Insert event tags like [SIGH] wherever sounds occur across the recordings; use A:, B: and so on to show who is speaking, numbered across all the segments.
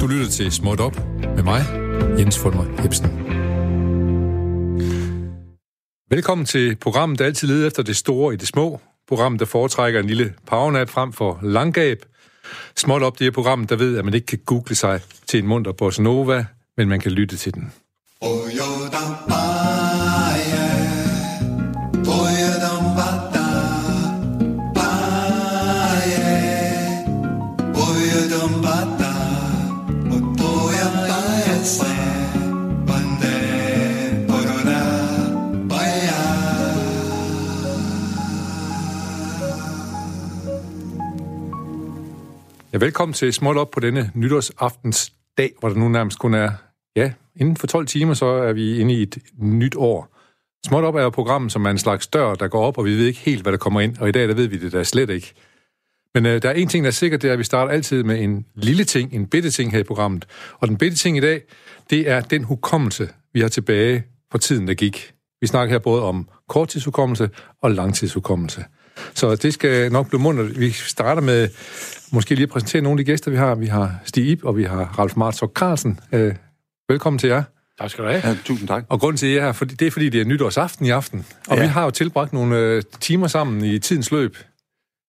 A: Du lytter til Småt Op med mig, Jens Fulmer Jebsen. Velkommen til programmet, der altid leder efter det store i det små. Programmet, der foretrækker en lille powernap frem for langgab. Småt Op, det er programmet, der ved, at man ikke kan google sig til en munter bossa nova, men man kan lytte til den. Ja, velkommen til Småt Op på denne nytårsaftens dag, hvor der nu nærmest kun er, ja, inden for 12 timer, så er vi inde i et nyt år. Småt Op er jo programmet, som er en slags dør, der går op, og vi ved ikke helt, hvad der kommer ind, og i dag, der ved vi det der slet ikke. Men øh, der er en ting, der er sikkert, det er, at vi starter altid med en lille ting, en bitte ting her i programmet. Og den bitte ting i dag, det er den hukommelse, vi har tilbage fra tiden, der gik. Vi snakker her både om korttidshukommelse og langtidshukommelse. Så det skal nok blive mundt. Vi starter med måske lige at præsentere nogle af de gæster, vi har. Vi har Stig Ip, og vi har Ralf Martov Carlsen. Øh, velkommen til jer.
B: Tak skal du have.
C: Ja, tusind tak.
A: Og grunden til, at I er her, for- det er, fordi det er nytårsaften i aften. Og ja.
C: Ja.
A: vi har jo tilbragt nogle øh, timer sammen i tidens løb.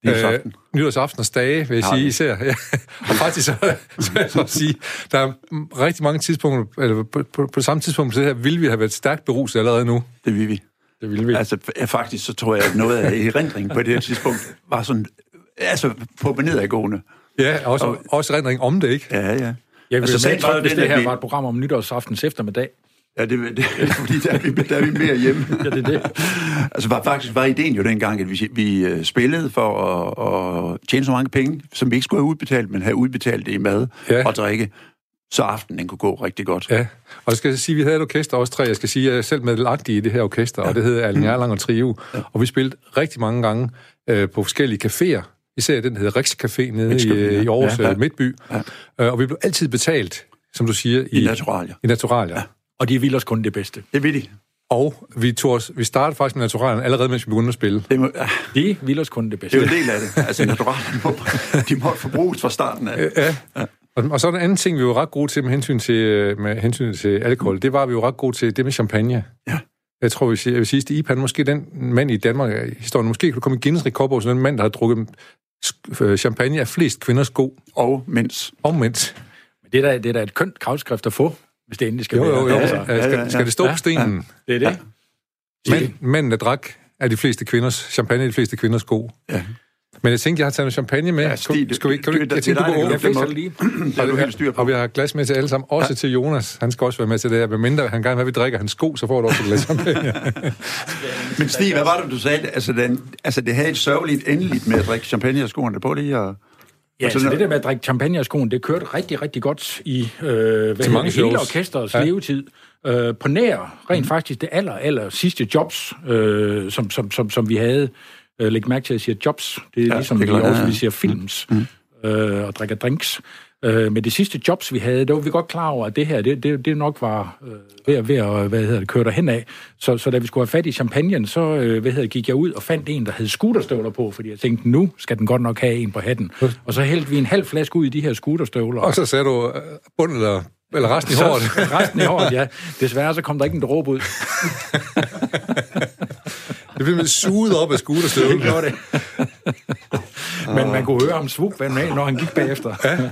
C: Nytårsaften.
A: Øh, nytårsaftens dage, vil jeg
C: Har
A: sige
C: vi.
A: især. Ja. Og faktisk så, [LAUGHS] så vil jeg så sige, der er mm, rigtig mange tidspunkter, eller på, på, på samme tidspunkt som det her, ville vi have været stærkt beruset allerede nu.
C: Det vil vi.
B: Det ville vi.
C: Altså, f- ja, faktisk så tror jeg, at noget af erindringen på det her tidspunkt var sådan, altså, på nedadgående.
A: Ja, også, og,
C: Og-
A: også rendring om det, ikke?
C: Ja, ja.
B: Jeg vil
C: altså,
B: altså,
C: sagen var jo
B: godt, hvis
C: den,
B: det
C: at
B: her
C: vi-
B: var et program om nytårsaftens eftermiddag.
C: Ja, det, det er fordi, der er, vi, der er vi mere hjemme.
B: Ja, det er det.
C: altså, var, faktisk var ideen jo dengang, at vi, vi øh, spillede for at, at tjene så mange penge, som vi ikke skulle have udbetalt, men have udbetalt det i mad
A: Ja.
C: ja. og drikke, så aftenen den kunne gå rigtig godt.
A: Ja, og jeg skal sige, at vi havde et orkester også tre. Jeg skal sige, at jeg er selv medlagtig i det her orkester, ja. og det hedder Allen Erlang og Trio. Ja. Og vi spillede rigtig mange gange øh, på forskellige caféer. Især den, der hedder Rikscafé nede i,
C: Rikscafé, ja.
A: øh, i Aarhus
C: Ja,
A: ja,
C: ja.
A: ja. Midtby. Ja. Øh, og vi blev altid betalt, som du siger,
C: I naturalier.
A: i naturalier. Ja.
B: Og de vil os kun det bedste.
C: Det vil de.
A: Og vi, tog os, vi startede faktisk med naturalierne allerede, mens vi begyndte at spille.
C: Det, må, ja,
B: De vil os kun det
C: det er jo
B: bedste.
C: en del af det.
B: [LAUGHS]
C: Altså, naturalier, må, de måtte forbruges fra starten af.
A: Ja. Og, og så en anden ting, vi var ret gode til med hensyn til, øh, med hensyn til alkohol, det var vi jo ret gode til, det med champagne.
C: Ja.
A: Jeg tror, vi siger, jeg vil sige, Stig Ip, han er måske den mand i Danmark øh, i historien, måske kunne komme i Guinness rekordbog, som den mand, der har drukket sk- øh, champagne af flest kvinders sko
C: Og mens.
A: omvendt.
B: Men det er da, det er da et kønt kravskrift at få, hvis det endelig skal
A: Jo,
B: være.
A: jo, jo.
B: Altså,
A: Ja, skal, skal det stå på stenen?
B: det er det.
A: Mænd, mænd, der drak af de fleste kvinders, champagne af de fleste kvinders sko.
C: Ja.
A: Men jeg tænkte, jeg har taget noget champagne med.
C: Ja, Stig,
A: Skal- skal vi, kan vi,
C: det- det-
A: jeg tænkte,
C: det er
A: du
C: dig,
A: kunne
C: der
A: åbne
C: gør det.
B: Jeg
A: fingeren.
B: fikser det lige.
C: Det har du helt styr
A: Og
C: på.
A: vi har et glas med til alle sammen, også ja. til Jonas. Han skal også være med til det her, medmindre han gerne vil have, at vi drikker hans sko, så får du også et glas champagne.
C: Men Stig, hvad var det, du sagde? Altså, den, altså det havde et sørgeligt endeligt med at drikke champagne af skoene på lige. Og,
B: Ja,
C: Altså,
B: altså
C: når-
B: det der med at drikke champagne af skoen, det kørte rigtig, rigtig godt i øh, hvad
A: mange
B: mange hele
A: shows.
B: orkesterets
A: Ja.
B: ja. levetid. Øh, på nær, rent faktisk, det aller, aller sidste jobs, øh, som, som, som, som vi havde. Øh, læg mærke til, at jeg siger jobs. Det er ja, ligesom
C: det
B: det
C: er
B: er
C: klart,
B: også,
C: ja, ja.
B: vi siger films mm. øh, og drikker drinks. Øh, men det sidste jobs, vi havde, der var vi godt klar over, at det her, det, det, det nok var øh, ved, at, ved at hvad hedder det, køre derhen af. Så, så da vi skulle have fat i champagnen, så øh, hvad hedder, det, gik jeg ud og fandt en, der havde scooterstøvler på, fordi jeg tænkte, nu skal den godt nok have en på hatten. Og så hældte vi en halv flaske ud i de her scooterstøvler.
A: [LAUGHS] og så sagde du øh, bunden eller, eller resten i [LAUGHS] håret.
B: Så, [LAUGHS] resten i håret, ja. Desværre så kom der ikke en dråbe ud.
A: Det blev suget op af
B: Det
A: skuderstøvlen.
B: gjorde det.
A: Ah.
B: Men man kunne høre ham svug, når han gik bagefter. Ja,
A: Men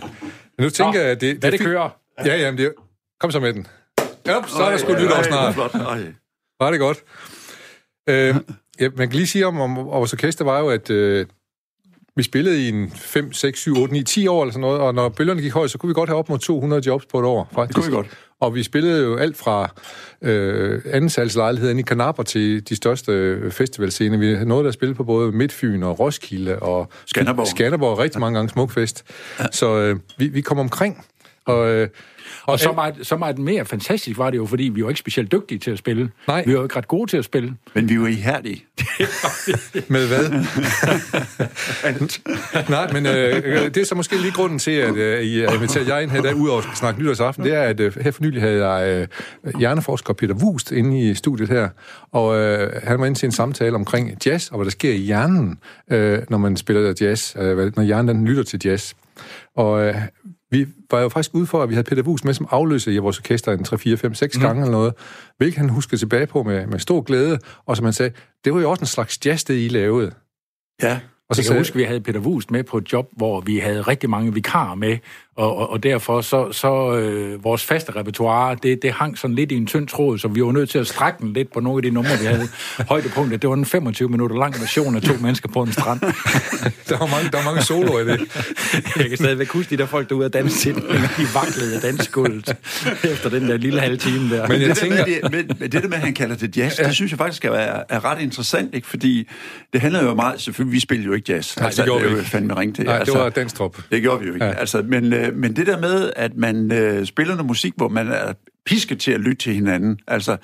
A: nu tænker jeg, at det,
B: det, det
A: fint.
B: kører.
A: Ja, jamen, det er... Kom så med den. Op, så er der sgu nytår snart.
C: Flot. Ej.
A: Var det godt.
C: [LAUGHS]
A: Øh, ja, man kan lige sige om, om, om vores orkester var jo, at øh, vi spillede i en 5, 6, 7, 8, 9, 10 år eller sådan noget, og når bølgerne gik højt, så kunne vi godt have op mod 200 jobs på et år, faktisk.
C: Det kunne vi godt.
A: Og vi spillede jo alt fra øh, andensalslejligheder i Kanapper til de største øh, festivalscener. Vi havde noget, der spillede på både Midtfyn og Roskilde og
C: Skanderborg.
A: Skanderborg rigtig mange gange Smukfest. Så øh, vi, vi kom omkring. Og, øh,
B: Og så meget, så meget mere fantastisk var det jo, fordi vi var ikke specielt dygtige til at spille.
A: Nej.
B: Vi var ikke ret gode til at spille.
C: Men vi er jo ihærdige.
A: Med hvad? Nej, men øh, det er så måske lige grunden til, at øh, I er inviteret jer ind her i dag, udover at skal snakke nytårsaften, det er, at øh, her for nylig havde jeg øh, hjerneforsker Peter Wust inde i studiet her, og øh, han var inde til en samtale omkring jazz, og hvad der sker i hjernen, øh, når man spiller jazz, øh, hvad- når hjernen den lytter til jazz. Og øh, vi var jo faktisk ude for, at vi havde Peter Wust med som afløser i vores orkester en 3, 4, 5, 6 mm. gange eller noget, hvilket han husker tilbage på med, med stor glæde, og som han sagde, det var jo også en slags jazz, det I lavede.
C: Ja.
A: Og
B: Så jeg kan huske, vi havde Peter Wust med på et job, hvor vi havde rigtig mange vikarer med, og, og, og derfor så, så øh, vores faste repertoire, det, det hang sådan lidt i en tynd tråd, så vi var nødt til at strække den lidt på nogle af de numre, vi [LAUGHS] havde. Højdepunktet, det var en 25 minutter lang version [LAUGHS] af to mennesker på en strand.
A: [LAUGHS] Der var mange, der var mange soloer i det.
B: Jeg kan stadigvæk huske de der folk, der ude og danse til [LAUGHS] den. De vaklede af [LAUGHS] dansegulvet efter den der lille halve time der.
A: Men
B: Men, øh,
A: jeg
C: det,
A: tænker-
C: tænker... der med, det, men, men det der med, at han kalder det jazz, ja. det synes jeg faktisk er, er ret interessant, ikke? fordi det handler jo meget... Selvfølgelig, vi spillede jo ikke jazz. Altså,
A: det gjorde vi
C: det er jo
A: ikke.
C: fandme ringe til. altså,
A: Nej, det var Danstrup.
C: Det gjorde vi jo ikke.
A: Ja.
C: Ja. Altså, men, øh, men det der med, at man øh, spiller noget musik, hvor man er pisket til at lytte til hinanden, altså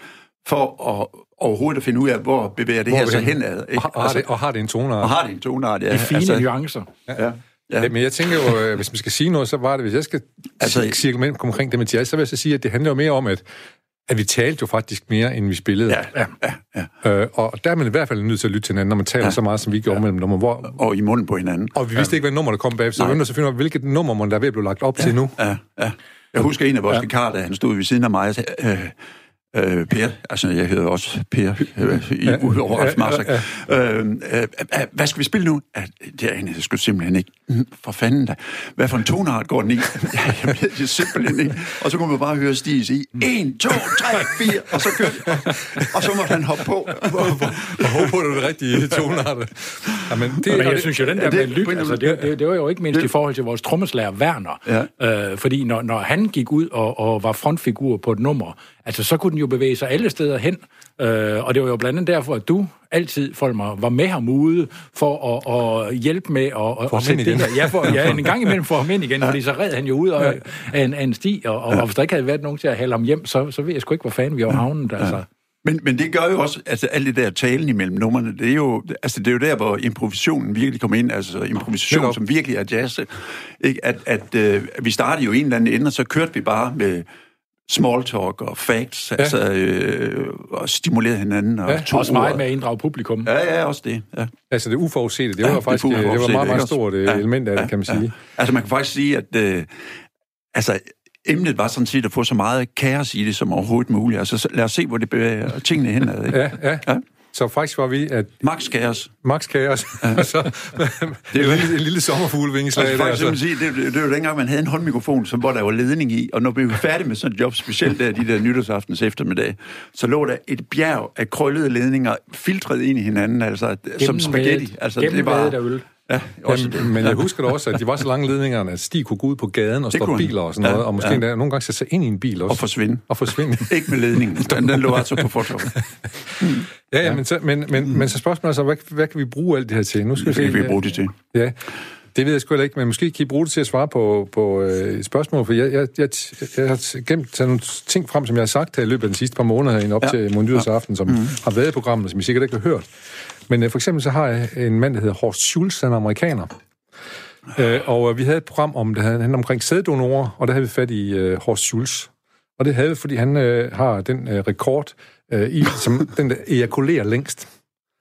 C: for at overhovedet at finde ud af, hvor bevæger det
A: Hvor
C: hvor her
A: er vi
C: sig
A: henne?
C: henad.
A: [LAUGHS] Og,
C: Ikke? Altså,
A: har- og, har det, og har det en toner.
C: og har det en tonart, ja.
B: de fine altså, nuancer.
C: ja. Ja.
A: Ja. Men jeg tænker jo, øh, hvis man skal sige noget, så var det, hvis jeg skal
C: Altså-
A: altså, cirkulere omkring det med jazz, så vil jeg så sige, at det handler jo mere om, at, at vi talte jo faktisk mere, end vi spillede.
C: Ja, ja, ja, ja.
A: Øh, og der er man i hvert fald nødt til at lytte til hinanden, når man taler ja. så meget, som vi gjorde ja. mellem nummer. Hvor,
C: Og i munden på hinanden.
A: og vi vidste ja. ikke, hvad nummer der kom bag, så vi begyndte at finde ud af, hvilket nummer man der er ved at blive lagt op ja. til nu.
C: Ja, ja. Jeg husker en af vores ja. vikarer, da han stod ved siden af mig og sagde, øh, øh, Per, altså jeg hedder også Per, øh, i ja, udover ja, ja, ja. Øh, øh, øh, hvad skal vi spille nu? Ja, det aner jeg sgu simpelthen ikke. "Mm, For fanden da. Hvad for en tonart går den i? [LAUGHS] ja, jeg ved det simpelthen ikke. Og så kunne man bare høre Stig sige, 1, 2, 3, 4, og så kørte jeg. Og så måtte han hoppe på.
A: Og håber på, at det var det [LAUGHS] rigtige tonart. Ja, men det,
B: Men
A: og
B: jeg
A: det-
B: synes jo, den
C: ja,
B: der
C: det-
B: med lyt,
C: på en-
B: altså, det, det, det var jo ikke mindst
C: Det-
B: i forhold til vores trommeslager Werner. Ja. Øh, fordi når, når han gik ud og, og var frontfigur på et nummer, altså så kunne den jo bevæge sig alle steder hen. Øh, og det var jo blandt andet derfor, at du altid, Folmer, var med ham ude for at, at hjælpe med at, at,
A: ham
B: at
A: ind
B: sætte
A: igen.
B: det her. Ja, for, ja, en gang imellem får ham ind igen, ja. fordi så red han jo ud af, af, en, af en sti, og, og, og hvis der ikke havde været nogen til at hælde ham hjem, så, så ved jeg sgu ikke, hvor fanden vi var havnet. Altså.
C: Men, men det gør jo også, altså alt det der talen imellem numrene, det er jo, altså, det er jo der, hvor improvisationen virkelig kommer ind, altså improvisation,
A: Netop.
C: som virkelig er jazz, ikke? at, at øh, vi startede jo i en eller anden ende, og så kørte vi bare med small talk og facts, ja. altså, øh, og stimulerede hinanden, og
A: Ja,
C: ja, tog
B: Også meget
C: ordet.
B: med at inddrage publikum.
C: Ja, ja, også det, ja.
A: Altså det uforudsete, det var
C: Ja,
A: ja, faktisk det,
C: kunne
A: det
C: man godt
A: var
C: se,
A: meget, meget
C: ikke?
A: stort ja, element af det, kan man sige.
C: Altså, man kan faktisk sige, at øh, altså, emnet var sådan set at få så meget kaos i det som overhovedet muligt. Altså, så lad os se, hvor det bevæger tingene henad. Ikke?
A: Ja, ja. ja.
C: Ja.
A: Så faktisk var vi, at
C: Max kaos.
A: Max Kaos, og så det
C: Det
A: er
C: er
A: en,
C: jo-
A: lille, en lille sommerfuglevingeslag
C: Altså,
A: der.
C: faktisk,
A: Så.
C: så... sige, det, det, det var dengang, man havde en håndmikrofon, som, hvor der var ledning i, og når vi var færdige med sådan et job, specielt der de der nytårsaftens eftermiddag, så lå der et bjerg af krøllede ledninger filtret ind i hinanden, altså som spaghetti. Altså, det var...
B: Gennemvædet af øl.
C: Ja, også det.
A: Jamen, men jeg husker da også, at de var så lange ledningerne, at Stig kunne gå ud på gaden og stoppe
C: kunne han.
A: biler og sådan noget,
C: Ja,
A: og måske
C: ja.
A: endda nogle gange sætte sig ind i en bil også.
C: Og forsvinde.
A: Og forsvinde.
C: Ikke med
A: [LAUGHS]
C: ledningen. Den, den lå altså på fortorvet.
A: Ja, ja. Men, så, men, men, men så spørgsmålet er så, hvad, hvad kan vi bruge alt det her til? Nu skal vi
C: Det
A: se, øh,
C: kan vi
A: ja.
C: bruge det til.
A: Ja, det ved jeg sgu heller ikke, men måske kan I bruge det til at svare på, på øh, et spørgsmål, for jeg, jeg, jeg, jeg har gemt taget nogle ting frem, som jeg har sagt her i løbet af de sidste par måneder herinde op ja.
C: Ja.
A: til Mondyrsaften, som mm. har været i programmet, som I sikkert ikke har hørt. Men øh, for eksempel så har jeg en mand, der hedder Horst Schulz, han er amerikaner. Øh, og øh, vi havde et program om det, han omkring sæddonorer, og der havde vi fat i øh, Horst Schulz. Og det havde vi, fordi han øh, har den øh, rekord, øh, i, som den der ejakulerer længst.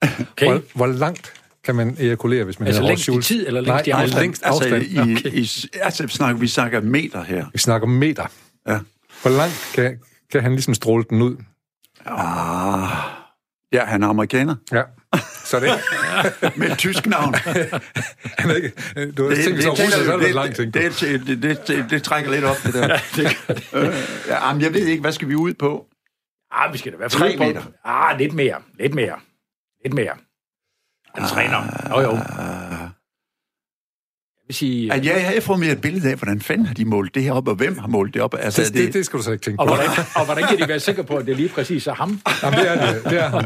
B: Okay.
A: Hvor, hvor langt kan man ejakulere, hvis man
B: Altså
A: hedder Horst
B: længst i
A: Schulz?
B: tid, eller længst i
A: Nej,
B: afstand?
A: Nej, længst
C: altså,
A: afstand.
C: i, i, altså, snakker, vi snakker meter her.
A: Vi snakker meter.
C: Ja.
A: Hvor langt kan, kan han ligesom stråle den ud?
C: Ah, ja, han er amerikaner.
A: Ja. Så det, [LAUGHS]
C: Med et tysk navn.
A: han er ikke... Du har tænkt, så russer, så er det langt, tænkt.
C: det, det, det, det, det, det trækker lidt op,
A: [LAUGHS]
C: det der. Øh, ja, jamen, jeg ved ikke, hvad skal vi ud på?
B: Ah, vi skal da være
C: Tre
B: fri på-
C: meter.
B: Ah, lidt mere. Lidt mere. Lidt mere. Han træner. Jo, jo. Jeg vil sige...
C: At Altså, jeg havde fået mere et billede af, hvordan fanden har de målt det her op, og hvem har målt det op? Altså,
A: Det, det, det skal du så ikke tænke
B: Og
A: på.
B: hvordan, og hvordan kan de være sikre på, at det lige præcis er ham?
A: Jamen, det er det. Det er ham.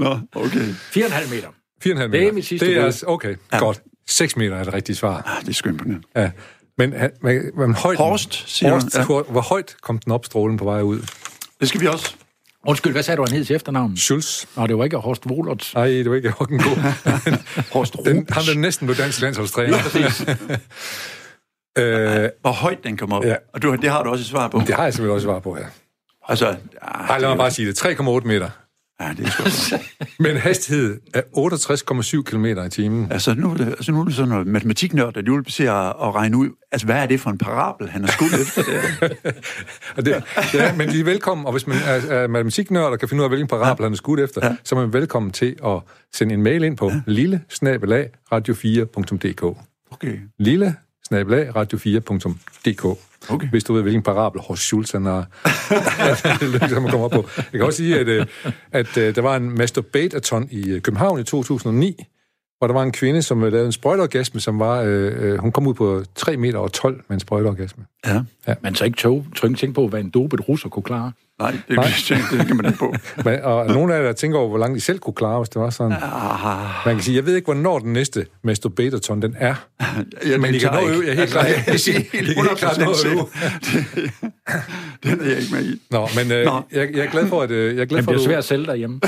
C: Nå, okay.
B: 4,5 meter.
A: 4,5 meter.
B: Det er mit sidste
A: det er,
B: bud.
A: altså- Okay, ja. godt. 6 meter er det rigtige svar.
C: Ah, det er skønt på den.
A: Ja. Men, han- men, men højden,
C: Horst, siger
A: Horst,
C: han,
A: ja. Hvor højt kom den op, strålen på vej ud?
C: Det skal vi også.
B: Undskyld, hvad sagde du, han hed til efternavn?
A: Schulz.
B: Nå, det var ikke Horst Wohlertz.
A: Nej, det var ikke Håkken Gå. [LAUGHS]
C: Horst
A: den,
C: Rups.
A: ham, der næsten blev dansk landsholdstræner. [LAUGHS] øh,
C: Hvor højt den kommer op.
A: Ja.
C: Ja. Og du, det har du også et svar på.
A: det har jeg simpelthen også svar på, ja.
C: Altså, ah,
A: Ej, lad mig
C: det,
A: bare sige det. 3,8 meter.
C: er- ah, det er sgu
A: Men hastighed er 68,7 km i timen.
C: Altså, nu er det, altså, nu er det sådan noget matematiknørd, der nu ser at, at regne ud, altså, hvad er det for en parabel, han har skudt
A: [LAUGHS]
C: efter der?
A: Og det, ja, men de er velkommen, og hvis man er, er matematiknørd og kan finde ud af, hvilken parabel han er skudt efter, ja. så er man velkommen til at sende en mail ind på ja. lille radio4.dk.
C: Okay.
A: Lille radio4.dk.
C: Okay.
A: Hvis du ved, hvilken parabel Horst Schulz han [LAUGHS] har det lykkedes ham at komme op på. Jeg kan også sige, at, øh, at øh, der var en masturbatathon i øh, København i 2009, hvor der var en kvinde, som øh, lavede en sprøjteorgasme, som var, øh, øh, hun kom ud på 3 meter og 12 med en sprøjteorgasme.
C: Ja.
B: Man så ikke tog, tryk tænke på, hvad en dopet russer kunne klare.
C: Nej, det, Nej. det kan man ikke på.
A: Men, og nogle af jer, der tænker over, hvor langt de selv kunne klare, hvis det var sådan.
C: Ah,
A: Man kan sige, jeg ved ikke, hvornår den næste masturbatathon den er.
C: jeg,
A: Men I kan nå at øve jer helt klart.
C: Jeg
A: [LAUGHS]
C: er
A: I kan
C: helt
A: helt klart nå
C: 100%
A: at øve.
C: [LAUGHS] sikker. Det- Den er jeg ikke med i. [LAUGHS]
A: Nå, men øh,
C: Nå.
A: Jeg, jeg er glad for, at... Øh, jeg er glad
B: Men
A: for,
B: det er
A: at du-
B: svært at sælge derhjemme.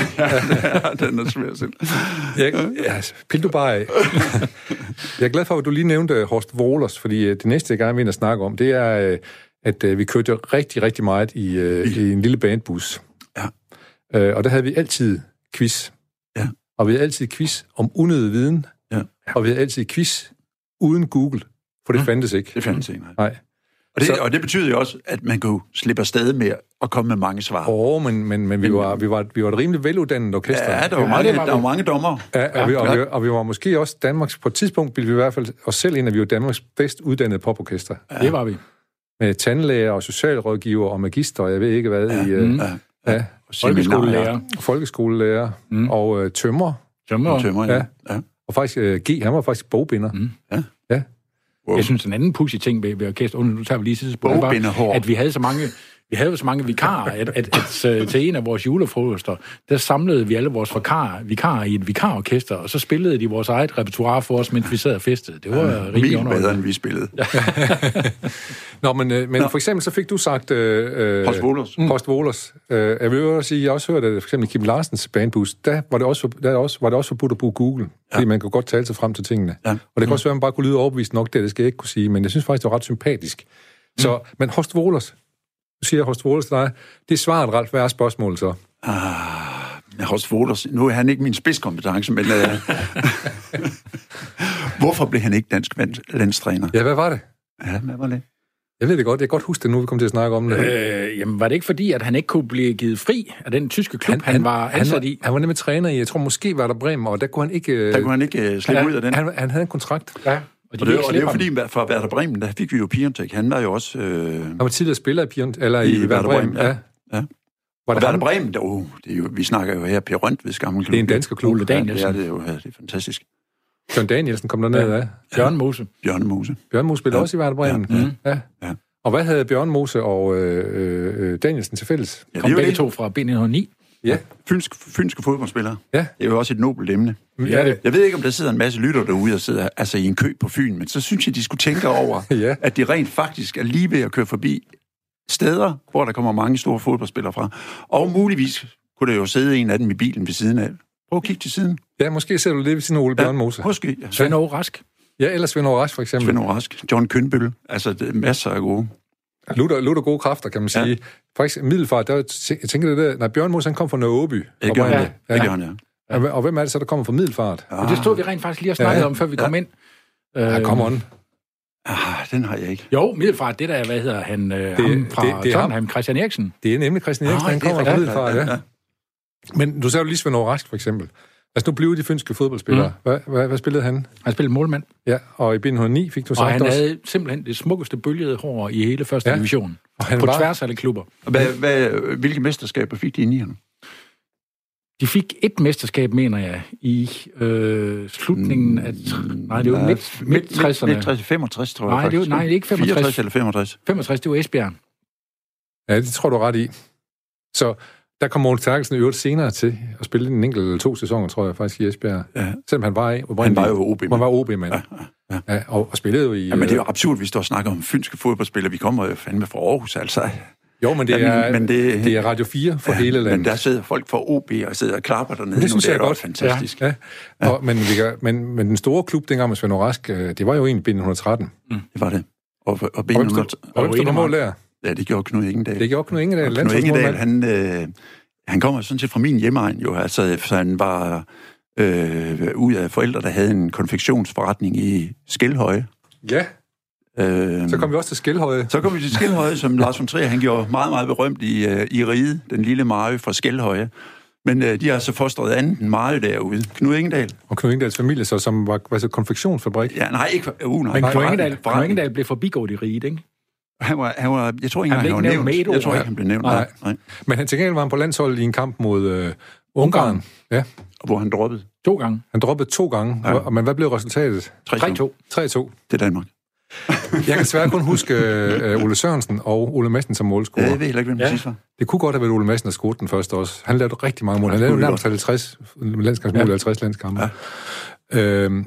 C: Den er svær selv.
A: Jeg, ja, altså, pil du bare af. jeg er glad for, at du lige nævnte øh, Horst Wohlers, fordi øh, det næste, jeg gerne vil ind og snakke om, det er, øh, at øh, vi kørte jo rigtig, rigtig meget i, øh, i en lille bandbus.
C: Ja.
A: Øh, Og der havde vi altid quiz.
C: Ja.
A: Og vi havde altid quiz om unødig viden.
C: Ja.
A: Og vi havde altid quiz uden Google, for det ja. fandtes ikke.
C: Det fandt jeg ikke.
A: Nej.
C: Og det,
A: Så-
C: og det betyder jo også, at man kunne slippe afsted med at komme med mange svar.
A: Åh, oh, men, men, men vi, var, vi, var, vi var et rimelig veluddannet orkester.
C: Ja, der var
B: Ja,
C: mange,
B: det var
C: der var mange dommer.
A: Ja, og, vi, og, vi, og vi var måske også Danmarks, på et tidspunkt ville vi i hvert fald os selv ind, at vi var Danmarks bedst uddannede poporkester.
B: Ja. Det var vi.
A: Med tandlæger og socialrådgiver og magister, og jeg ved ikke hvad, ja. i øh,
C: Ja.
A: ja,
B: Folkeskolelærer.
A: folkeskolelærer mm. og øh, tømmer.
B: Tømmer.
C: Tømmer,
A: Ja.
C: ja. ja.
A: Og faktisk, øh, G, han var faktisk bogbinder. Mm.
C: Wow.
B: Jeg synes, en anden pussy ting ved, ved orkester, und- nu tager vi lige sidste på,
C: Bogbinderhår.
B: at vi havde så mange, vi havde jo så mange vikarer, at, at, at, at til en af vores julefrokoster, der samlede vi alle vores vikarer, vikarer i et vikarorkester, og så spillede de vores eget repertoire for os, mens vi sad og festede. Det var
C: Ah,
B: ja, rimelig
C: Mil bedre,
B: underholdende.
C: end vi spillede.
A: Nå, men, øh, men for eksempel så fik du sagt... Øh, øh,
C: Horst Wohlers.
A: Mm. Horst Wohlers. Øh, jeg vil også sige, jeg har også hørt, at for eksempel Kim Larsens bandbus, der var det også, der er også, var det også forbudt at bruge Google, ja. fordi man kunne godt tale sig frem til tingene.
C: Ja. Mm.
A: Og det kan også være, at man bare kunne lyde overbevist nok, det, det skal jeg ikke kunne sige, men jeg synes faktisk, det var ret sympatisk.
C: Mm.
A: Så, men Horst Wohlers, nu siger jeg Horst Wohlers til dig, det er svaret, Ralf, hvad er spørgsmålet så?
C: Jeg har også Wohlers. Nu er han ikke min spidskompetence, men... Øh,
A: [LAUGHS]
C: [LAUGHS] hvorfor blev han ikke dansk vand- landstræner?
A: Ja, hvad var det?
C: Ja, hvad var det?
A: Jeg ved det godt, jeg kan godt huske det nu, vi kom til at snakke om det. Øh,
B: Øh, jamen, var det ikke fordi, at han ikke kunne blive givet fri af den tyske klub, han, han var
A: han,
B: ansat
A: var,
B: i?
A: han var nemlig træner i, jeg tror måske var der Bremen, og der kunne han ikke... Øh,
C: Der kunne han ikke øh, slippe
A: han,
C: ud af den.
A: Han, han havde en kontrakt.
B: Ja, og
C: Og
B: ville
C: det,
B: ikke
C: og det er
B: slippe
C: jo
B: ham.
C: fordi, for Werder Bremen, der fik vi jo Piontek. Han var jo også... Øh,
A: Han var tidligere spiller i Pion, eller i, i Werder Bremen. Ja.
C: ja.
A: Var
C: Og
A: det
C: Werder
A: ham?
C: Bremen, der, oh, det er jo, vi snakker jo her Per Rønt ved Skammel
A: Det er en dansk klub.
B: Ole Danielsen.
C: Ja, det er jo ja, det er fantastisk.
A: Bjørn Danielsen kom derned ja. af.
B: Jørgen Mose.
C: Bjørnemose.
A: Bjørn Mose spillede ja.
C: Ja. Mhm.
A: også i Werder Bremen. Ja. Ja. Ja.
C: Ja.
A: Og hvad havde Bjørn Mose og øh, øh, øh, Danielsen til fælles?
C: Ja, det
B: Kom
C: er jo
B: begge
C: det.
B: to fra B909.
A: Ja.
C: Fynsk, fynske fodboldspillere.
A: Ja.
C: Det er jo også et nobelt emne.
A: Ja, det.
C: Jeg ved ikke, om der sidder en masse lytter derude og sidder altså, i en kø på Fyn, men så synes jeg, de skulle tænke over,
A: [LAUGHS] Ja.
C: at de rent faktisk er lige ved at køre forbi steder, hvor der kommer mange store fodboldspillere fra. Og muligvis kunne der jo sidde en af dem i bilen ved siden af. Prøv at kigge til siden.
A: ja, måske ser du det ved siden af Ole Bjørn Mose.
C: Måske ja.
B: Svend Aage Rask.
A: Ja, eller Svend Aage Rask for eksempel.
C: Svend Åge Rask, John Kønbøl. Altså, det er masser af gode.
A: Lutter, lutter gode kræfter, kan man
C: Ja.
A: sige. Ja. Faktisk, middelfart, der, tæ- jeg tænker det der, nej, Bjørn Mose, han kom fra Nørre Åby.
C: Det gør han,
A: oprindeligt.
C: ja. Det gør han, ja.
A: Ja. Og, og hvem er det så, der kommer fra middelfart? Ja.
B: Og
C: Ah.
B: det stod vi rent faktisk lige og snakkede
A: Ja,
B: ja, om, før vi kom ind.
A: Ja, come on.
C: Ah, den har jeg ikke.
B: Jo, Middelfart, det der, hvad hedder han, øh, det, ham fra
A: det-
B: det,
A: det
B: det
A: er ham.
B: Tottenham, Christian Eriksen.
A: Det er nemlig Christian Eriksen,
C: Nå,
A: han
C: Ah, det er
A: kommer fra
C: rigtigt.
A: middelfart, ja.
C: Ja, ja.
A: Men du sagde jo lige Svend Aage Rask for eksempel. Altså, nu blev de fynske fodboldspillere. Mm. Hvad, hvad, hvad spillede han?
B: Han spillede målmand,
A: Ja, og i bind 9 fik du sagt
B: og han
A: også.
B: havde simpelthen det smukkeste bølgede hår i hele første
A: Ja.
B: ja. division.
A: Og han
B: På
A: var-
B: tværs af alle klubber.
C: Hvad, hvad, hvilke mesterskaber fik de i nierne?
B: De fik et mesterskab, mener jeg, i øh, slutningen af...
A: Mm,
B: tr- Nej, det var midt, midt 60'erne.
C: Midt 60, 65, tror jeg
B: Nej, det er jo-
C: faktisk.
B: nej, det er ikke 65.
C: 64 eller 65.
B: 65, det var Esbjerg.
A: Ja, det tror du er ret i. Så der kom Mogens Terkelsen i øvrigt senere til at spille en enkelt eller to sæsoner, tror jeg faktisk, i Esbjerg.
C: Ja.
A: Selvom han var i
C: Han var jo OB-mand.
A: Han var OB-mand. Ja,
C: ja.
A: Ja, og, og spillede jo i...
C: Ja, men det er jo absurd, vi står og snakker om fynske fodboldspillere. Vi kommer jo fandme fra Aarhus, altså.
A: øh, Jo, men det,
C: Jamen,
A: er,
C: men
A: men
C: det-
A: det, det er Radio 4 for ja, hele landet.
C: Men der sidder folk fra OB og sidder og klapper dernede.
A: det
C: nu.
A: synes jeg er
C: da
A: godt.
C: også fantastisk.
A: Ja, ja. Og, men, vi kan, men, men den store klub dengang med Svend Rask, øh, det var jo egentlig B113.
C: Det var det. Og, og
A: Og
C: ben
A: hvem stod- og hvem stod på
B: Enemark.
A: mål der?
C: Ja, det gjorde Knud Ingendal.
A: Det gjorde Knud Ingedal,
C: Og Knud Ingedal,
A: landsholdsmålmand.
C: han, øh, han kommer sådan set fra min hjemmeegn jo, altså så han var øh, ud af forældre, der havde en konfektionsforretning i Skelhøje.
A: Ja,
C: Øh,
A: så kom vi også til Skelhøje.
C: så kom vi til Skelhøje, som Lars von Trier, han gjorde meget, meget berømt i, øh, i Ride, den lille Marø fra Skelhøje. Men øh, de har så fostret andet end Marø derude. Knud Ingedal?
A: Og Knud Ingedals familie, så, som var, var så konfektionsfabrik.
C: Ja, nej, ikke... Uh, nej,
B: Men
C: forretning,
B: Kongedal,
C: forretning.
B: Kongedal blev forbigået i riget, ikke?
C: Han var, han var, jeg tror ikke,
B: Han
C: han,
B: blev
C: han var
B: ikke nævnt
C: nævnt.
B: med et
C: Jeg
B: ord.
C: tror ikke, han blev nævnt.
A: Nej.
C: Nej. Nej.
A: Men han til gengæld var han på landsholdet i en kamp mod øh, Ungarn. Ja,
C: Og Hvor han droppede.
B: To gange.
A: han droppede to gange. Ja. Men hvad blev resultatet?
C: 3-2.
B: 3-2.
A: 3-2.
C: Det er Danmark.
A: Jeg kan svært kun huske øh, Ole Sørensen og Ole Madsen som
C: Ja,
A: målscorer.
C: jeg ved heller ikke, hvem det
B: Ja.
C: sidste var.
A: Det kunne godt have været Ole Madsen, der skudte den første også. Han lavede rigtig mange mål. Han lavede jo
C: kunne
A: nærmest 50 landskampsmål, ja. 50 landskampe. Ja. Øhm,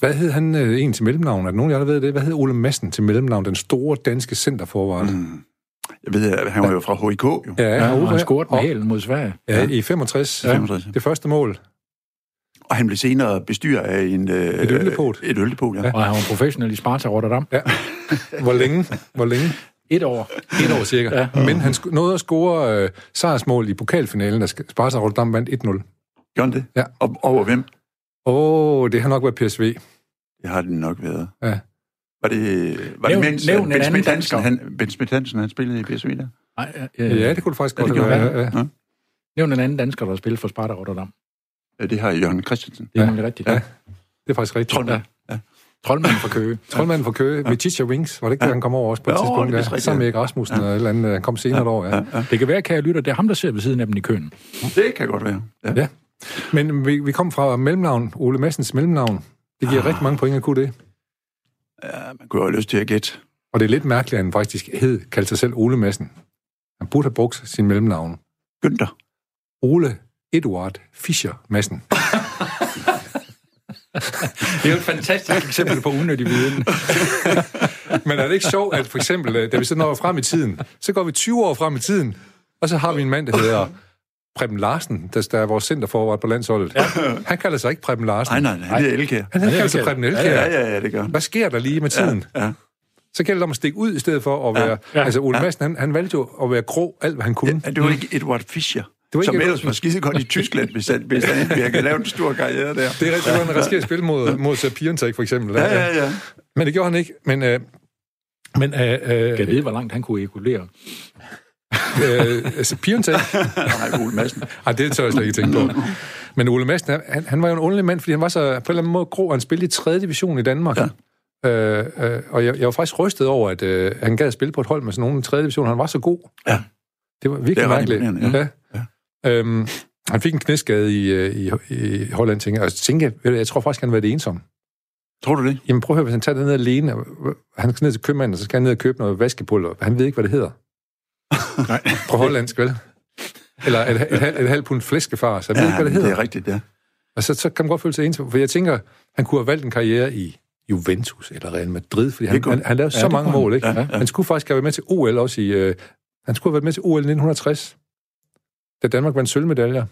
A: hvad hed han øh, egentlig til mellemnavn? Er der nogen af jer, der ved det? Hvad hed Ole Madsen til mellemnavn? Den store danske centerforvaren. Mm.
C: Jeg ved, at han var jo fra HIK, jo.
A: Ja,
B: Ja, og han scorede med
A: og,
B: hælen mod Sverige.
A: ja, i 65. Ja.
C: 65.
A: Det første mål.
C: Og han blev senere bestyrer af en... Øh,
A: Et øldepot.
C: Et øldepot, ja. ja.
B: Og han var professionel i Sparta Rotterdam.
A: Ja. Hvor længe? Hvor længe?
B: Et år.
A: Et år cirka.
B: Ja.
A: Ja. Men han sk- nåede at score øh, sejrsmål i pokalfinalen, der Sparta Rotterdam vandt 1-0.
C: Gjorde han det?
A: Ja.
C: Og, over hvem?
A: Åh, oh, det har nok været PSV.
C: Det har det nok været.
A: Ja.
C: Var det, var
B: Nævn-
C: det mens
B: nævn en
C: nævn ben,
B: anden
C: Smith Hansen,
B: dansker.
C: han, ben Smith Hansen, han spillede i PSV der?
B: Nej, øh,
A: Ja, det kunne det faktisk
C: Ja,
A: godt
C: det
A: have
C: gjorde
A: været. Ja.
B: Nævn en anden dansker, der spillede for Sparta Rotterdam.
C: Ja, Det har Jørgen Christensen.
B: Det er
A: Ja.
B: nemlig rigtigt.
A: Ja. Det er faktisk rigtigt.
C: Trondheim.
B: Troldmanden fra Køge.
A: Troldmanden fra Køge, ja. Vichicha Wings, var det ikke, ja. han kom over også på et
C: Jo,
A: jo, tidspunkt,
C: det er
A: ja,
C: vist rigtigt,
A: sammen
C: ja.
A: med Erik Rasmussen ja. og et eller andet, han kom senere ja. et år, ja. ja.
B: Det kan være, kære lytter, det er ham, der sidder ved siden af dem i køen.
C: Det kan godt være. Ja.
A: ja. Men vi, vi kom fra mellemnavn, Ole Massens mellemnavn. Det giver ah. rigtig mange point at kunne det.
C: ja. man kunne jo have lyst til at gætte.
A: Og det er lidt mærkeligt, at han faktisk hed, kaldte sig selv Ole Madsen. Han burde have brugt sin mellemnavn.
C: Günther.
A: Ole Eduard Fischer Madsen.
B: Det er jo et fantastisk eksempel på unødig viden.
A: [LAUGHS] Men er det ikke sjovt, at for eksempel, øh, da vi så når frem i tiden, så går vi 20 år frem i tiden, og så har vi en mand, der hedder Preben Larsen, der, der er vores centerforvart på landsholdet. Ja. Han kalder sig ikke Preben Larsen.
C: Nej, nej, nej, han hedder Elkær.
A: Han hedder
B: Ja,
A: altså
B: det kan-
A: Preben Elkjær.
C: Ja, ja, ja, det gør han.
A: Hvad sker der lige med tiden? Ja.
C: Ja.
A: Så gælder det om at stikke ud, i stedet for at være... Ja.
B: Ja.
A: Ja. Altså, Ole Madsen, han, han valgte jo at være grå alt, hvad han kunne.
C: Ja, det var ikke Edward Fischer,
A: var ikke
C: som
A: Edward-
C: ellers var skidegodt i Tyskland, hvis han, hvis han ikke havde lavet en stor karriere der.
A: Det er rigtigt, at han risikerer at spille mod, mod Sapientek, for eksempel.
C: Ja, ja, ja.
A: Men det gjorde han ikke. Men, øh, men øh,
B: Jeg
A: øh,
B: ved, hvor langt han kunne ekulere.
A: øh, Sapientek...
C: [LAUGHS] Nej, Ole Madsen.
A: Ej, det tør jeg slet ikke
C: [LAUGHS]
A: tænke på.
C: Mm.
A: Men Ole Madsen, han- han, han var jo en underlig mand, fordi han var så på en eller anden måde grå, og han spillede i 3. division i Danmark. Ja. Øh, øh, og jeg, jeg var faktisk rystet over, at øh, han gad at spille på et hold med sådan nogen i 3. division. Han var så god.
C: Ja.
A: Det var virkelig
C: Det er ret
A: mærkeligt.
C: imponerende,
A: ja. Ja. Øhm, han fik en knæskade i, øh, i, i Holland, tænker jeg. Og så tænker jeg, ved du, jeg tror faktisk, han var det ensom.
C: Tror du det?
A: Jamen prøv at høre, hvis han tager det ned alene, og han skal ned til købmanden, og så skal han ned og købe noget vaskepulver. Han ved ikke, hvad det hedder.
C: Nej.
A: På hollandsk, vel? Eller et, et, et, halvt- et halvt pund flæskefar, så han ved ikke, hvad det hedder.
C: det er rigtigt, ja.
A: Og så, så kan man godt føle sig ensom. For jeg tænker, han kunne have valgt en karriere i Juventus eller Real Madrid, fordi
C: Det
A: han,
C: kunne-
A: han, han lavede ja, så
B: det
A: mange
B: kunne han.
A: mål. Ikke?
C: Ja,
A: Ja,
C: ja.
A: ja. Han skulle faktisk have været med til OL også i... Øh, han skulle have været med til OL 1960, da Danmark vandt sølvmedaljer.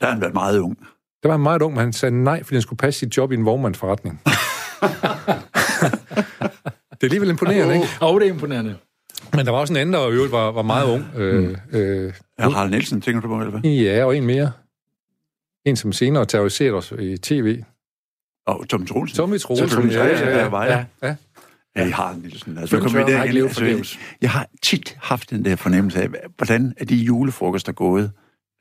C: Der har han været meget ung.
A: Der var han meget ung, men han sagde nej, fordi han skulle passe sit job i en [LAUGHS] vognmandsforretning. det er alligevel imponerende, ikke?
B: Åh, oh, det er imponerende.
A: Men der var også en anden, der i øvrigt var, var meget ung. Øh, øh,
C: Ja, Harald Nielsen, tænker du på, eller hvad?
A: ja, og en mere. En, som senere terroriserede os i tv.
C: Og Tom Troelsen.
A: Tommy Troelsen.
C: Selvfølgelig, ja, ja, ja. ja, ja.
B: Ja.
C: ja. ja Harald Nielsen. Altså,
B: Hvem
C: nu kommer vi
B: tør, har ikke levet
C: derind. altså,
B: forgæves?
C: jeg har tit haft den der fornemmelse af, hvordan er de julefrokoster gået?